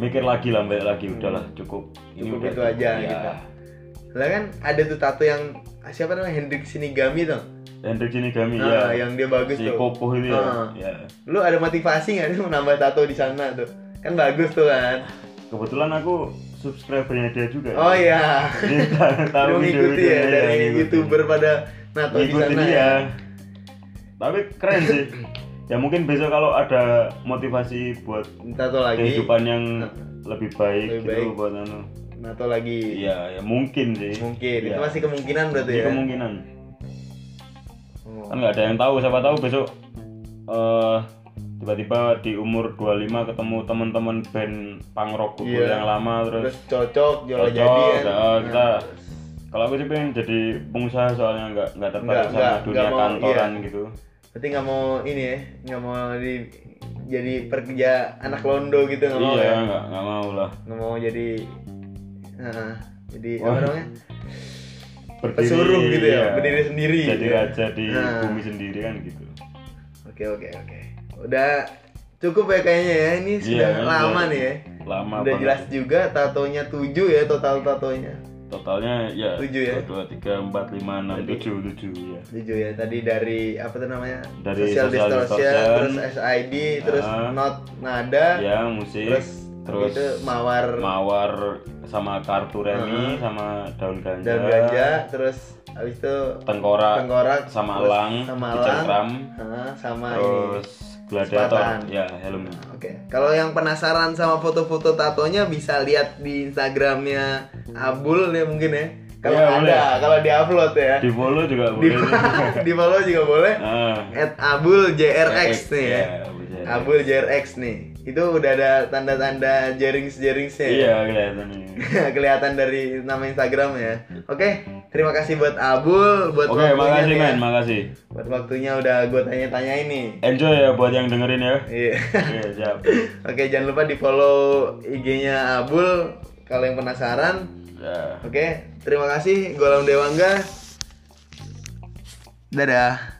Speaker 2: mikir lagi lah balik lagi udahlah cukup ini
Speaker 1: cukup
Speaker 2: udah
Speaker 1: itu aja
Speaker 2: ya.
Speaker 1: gitu lah kan ada tuh tato yang ah, siapa namanya Hendrik Sinigami tuh
Speaker 2: Hendrik Shinigami ya
Speaker 1: Ah, yang dia bagus
Speaker 2: si
Speaker 1: tuh
Speaker 2: kokoh itu ya.
Speaker 1: Ah.
Speaker 2: ya
Speaker 1: lu ada motivasi nggak sih menambah tato di sana tuh kan bagus tuh kan
Speaker 2: kebetulan aku subscribernya dia juga ya.
Speaker 1: oh iya
Speaker 2: Dia tahu- tahu
Speaker 1: lu ngikuti ya
Speaker 2: video-videonya,
Speaker 1: dari
Speaker 2: ngikutin.
Speaker 1: youtuber pada nato di
Speaker 2: ngikutin
Speaker 1: sana ya.
Speaker 2: dia tapi keren sih ya mungkin besok kalau ada motivasi buat
Speaker 1: tato lagi
Speaker 2: kehidupan yang lebih baik
Speaker 1: Lebih
Speaker 2: gitu
Speaker 1: baik.
Speaker 2: buat anu
Speaker 1: nato lagi
Speaker 2: iya ya mungkin sih
Speaker 1: mungkin
Speaker 2: Iya.
Speaker 1: itu masih kemungkinan berarti
Speaker 2: Ini
Speaker 1: ya
Speaker 2: kemungkinan
Speaker 1: Oh.
Speaker 2: kan nggak ada yang tahu siapa tahu besok eh tiba-tiba di umur 25 ketemu teman-teman band pangrok kubu
Speaker 1: Iya.
Speaker 2: yang lama terus
Speaker 1: terus cocok jual
Speaker 2: cocok,
Speaker 1: jadi kan
Speaker 2: nah,
Speaker 1: Nah,
Speaker 2: kita kalau aku sih pengen jadi pengusaha soalnya nggak nggak tertarik
Speaker 1: Nggak-
Speaker 2: sama
Speaker 1: nggak-
Speaker 2: dunia
Speaker 1: nggak mau, iya.
Speaker 2: kantoran gitu
Speaker 1: berarti nggak mau ini ya nggak mau di, jadi pekerja anak londo gitu nggak mau
Speaker 2: iya
Speaker 1: ya
Speaker 2: nggak nggak mau lah
Speaker 1: nggak mau jadi nah, jadi apa
Speaker 2: Wah.
Speaker 1: namanya pesuruh gitu ya
Speaker 2: iya.
Speaker 1: berdiri sendiri
Speaker 2: jadi
Speaker 1: gitu ya.
Speaker 2: raja di
Speaker 1: Nah.
Speaker 2: bumi sendiri kan gitu
Speaker 1: oke oke oke udah cukup ya kayaknya ya ini sudah
Speaker 2: kan,
Speaker 1: lama
Speaker 2: udah-
Speaker 1: nih ya
Speaker 2: lama
Speaker 1: udah
Speaker 2: banget.
Speaker 1: jelas juga tatonya 7 ya total tatonya
Speaker 2: totalnya ya
Speaker 1: Tujuh ya?
Speaker 2: dua tiga empat lima enam tujuh tujuh ya
Speaker 1: 7 ya tadi dari apa tuh namanya
Speaker 2: Dari
Speaker 1: social,
Speaker 2: social
Speaker 1: distortion,
Speaker 2: distortion.
Speaker 1: terus SID terus
Speaker 2: Ah.
Speaker 1: not nada
Speaker 2: ya musik
Speaker 1: Nah, terus
Speaker 2: terus
Speaker 1: itu mawar
Speaker 2: mawar sama kartu remi sama daun ganja,
Speaker 1: dan ganja terus habis itu
Speaker 2: tengkorak
Speaker 1: tengkorak
Speaker 2: sama
Speaker 1: terus
Speaker 2: elang
Speaker 1: sama
Speaker 2: dicengkram,
Speaker 1: elang ah, sama ini
Speaker 2: terus gladiator
Speaker 1: Sepatan.
Speaker 2: ya helm
Speaker 1: Oke, kalau yang penasaran sama foto-foto tatonya bisa lihat di Instagramnya Abul ya mungkin ya. Kalau
Speaker 2: Iya,
Speaker 1: ada, kalau di-upload ya.
Speaker 2: di follow juga
Speaker 1: Di,
Speaker 2: boleh
Speaker 1: di follow juga boleh.
Speaker 2: Ah,
Speaker 1: At Abul JRX nih ya.
Speaker 2: ya, boleh.
Speaker 1: Abul JRX nih. Itu udah ada tanda-tanda jerings-jeringsnya. ya.
Speaker 2: iya kelihatan nih.
Speaker 1: Kelihatan dari nama Instagram ya. Oke, terima kasih buat Abul buat
Speaker 2: oke makasih
Speaker 1: nih ya.
Speaker 2: men makasih
Speaker 1: Buat waktunya udah gue tanya-tanya ini.
Speaker 2: enjoy ya buat yang dengerin ya
Speaker 1: Iya.
Speaker 2: Oke, siap.
Speaker 1: Oke, jangan lupa di follow IG-nya Abul kalau yang penasaran.
Speaker 2: Ya.
Speaker 1: Oke, terima kasih. Gue Alam Dewangga. Dadah.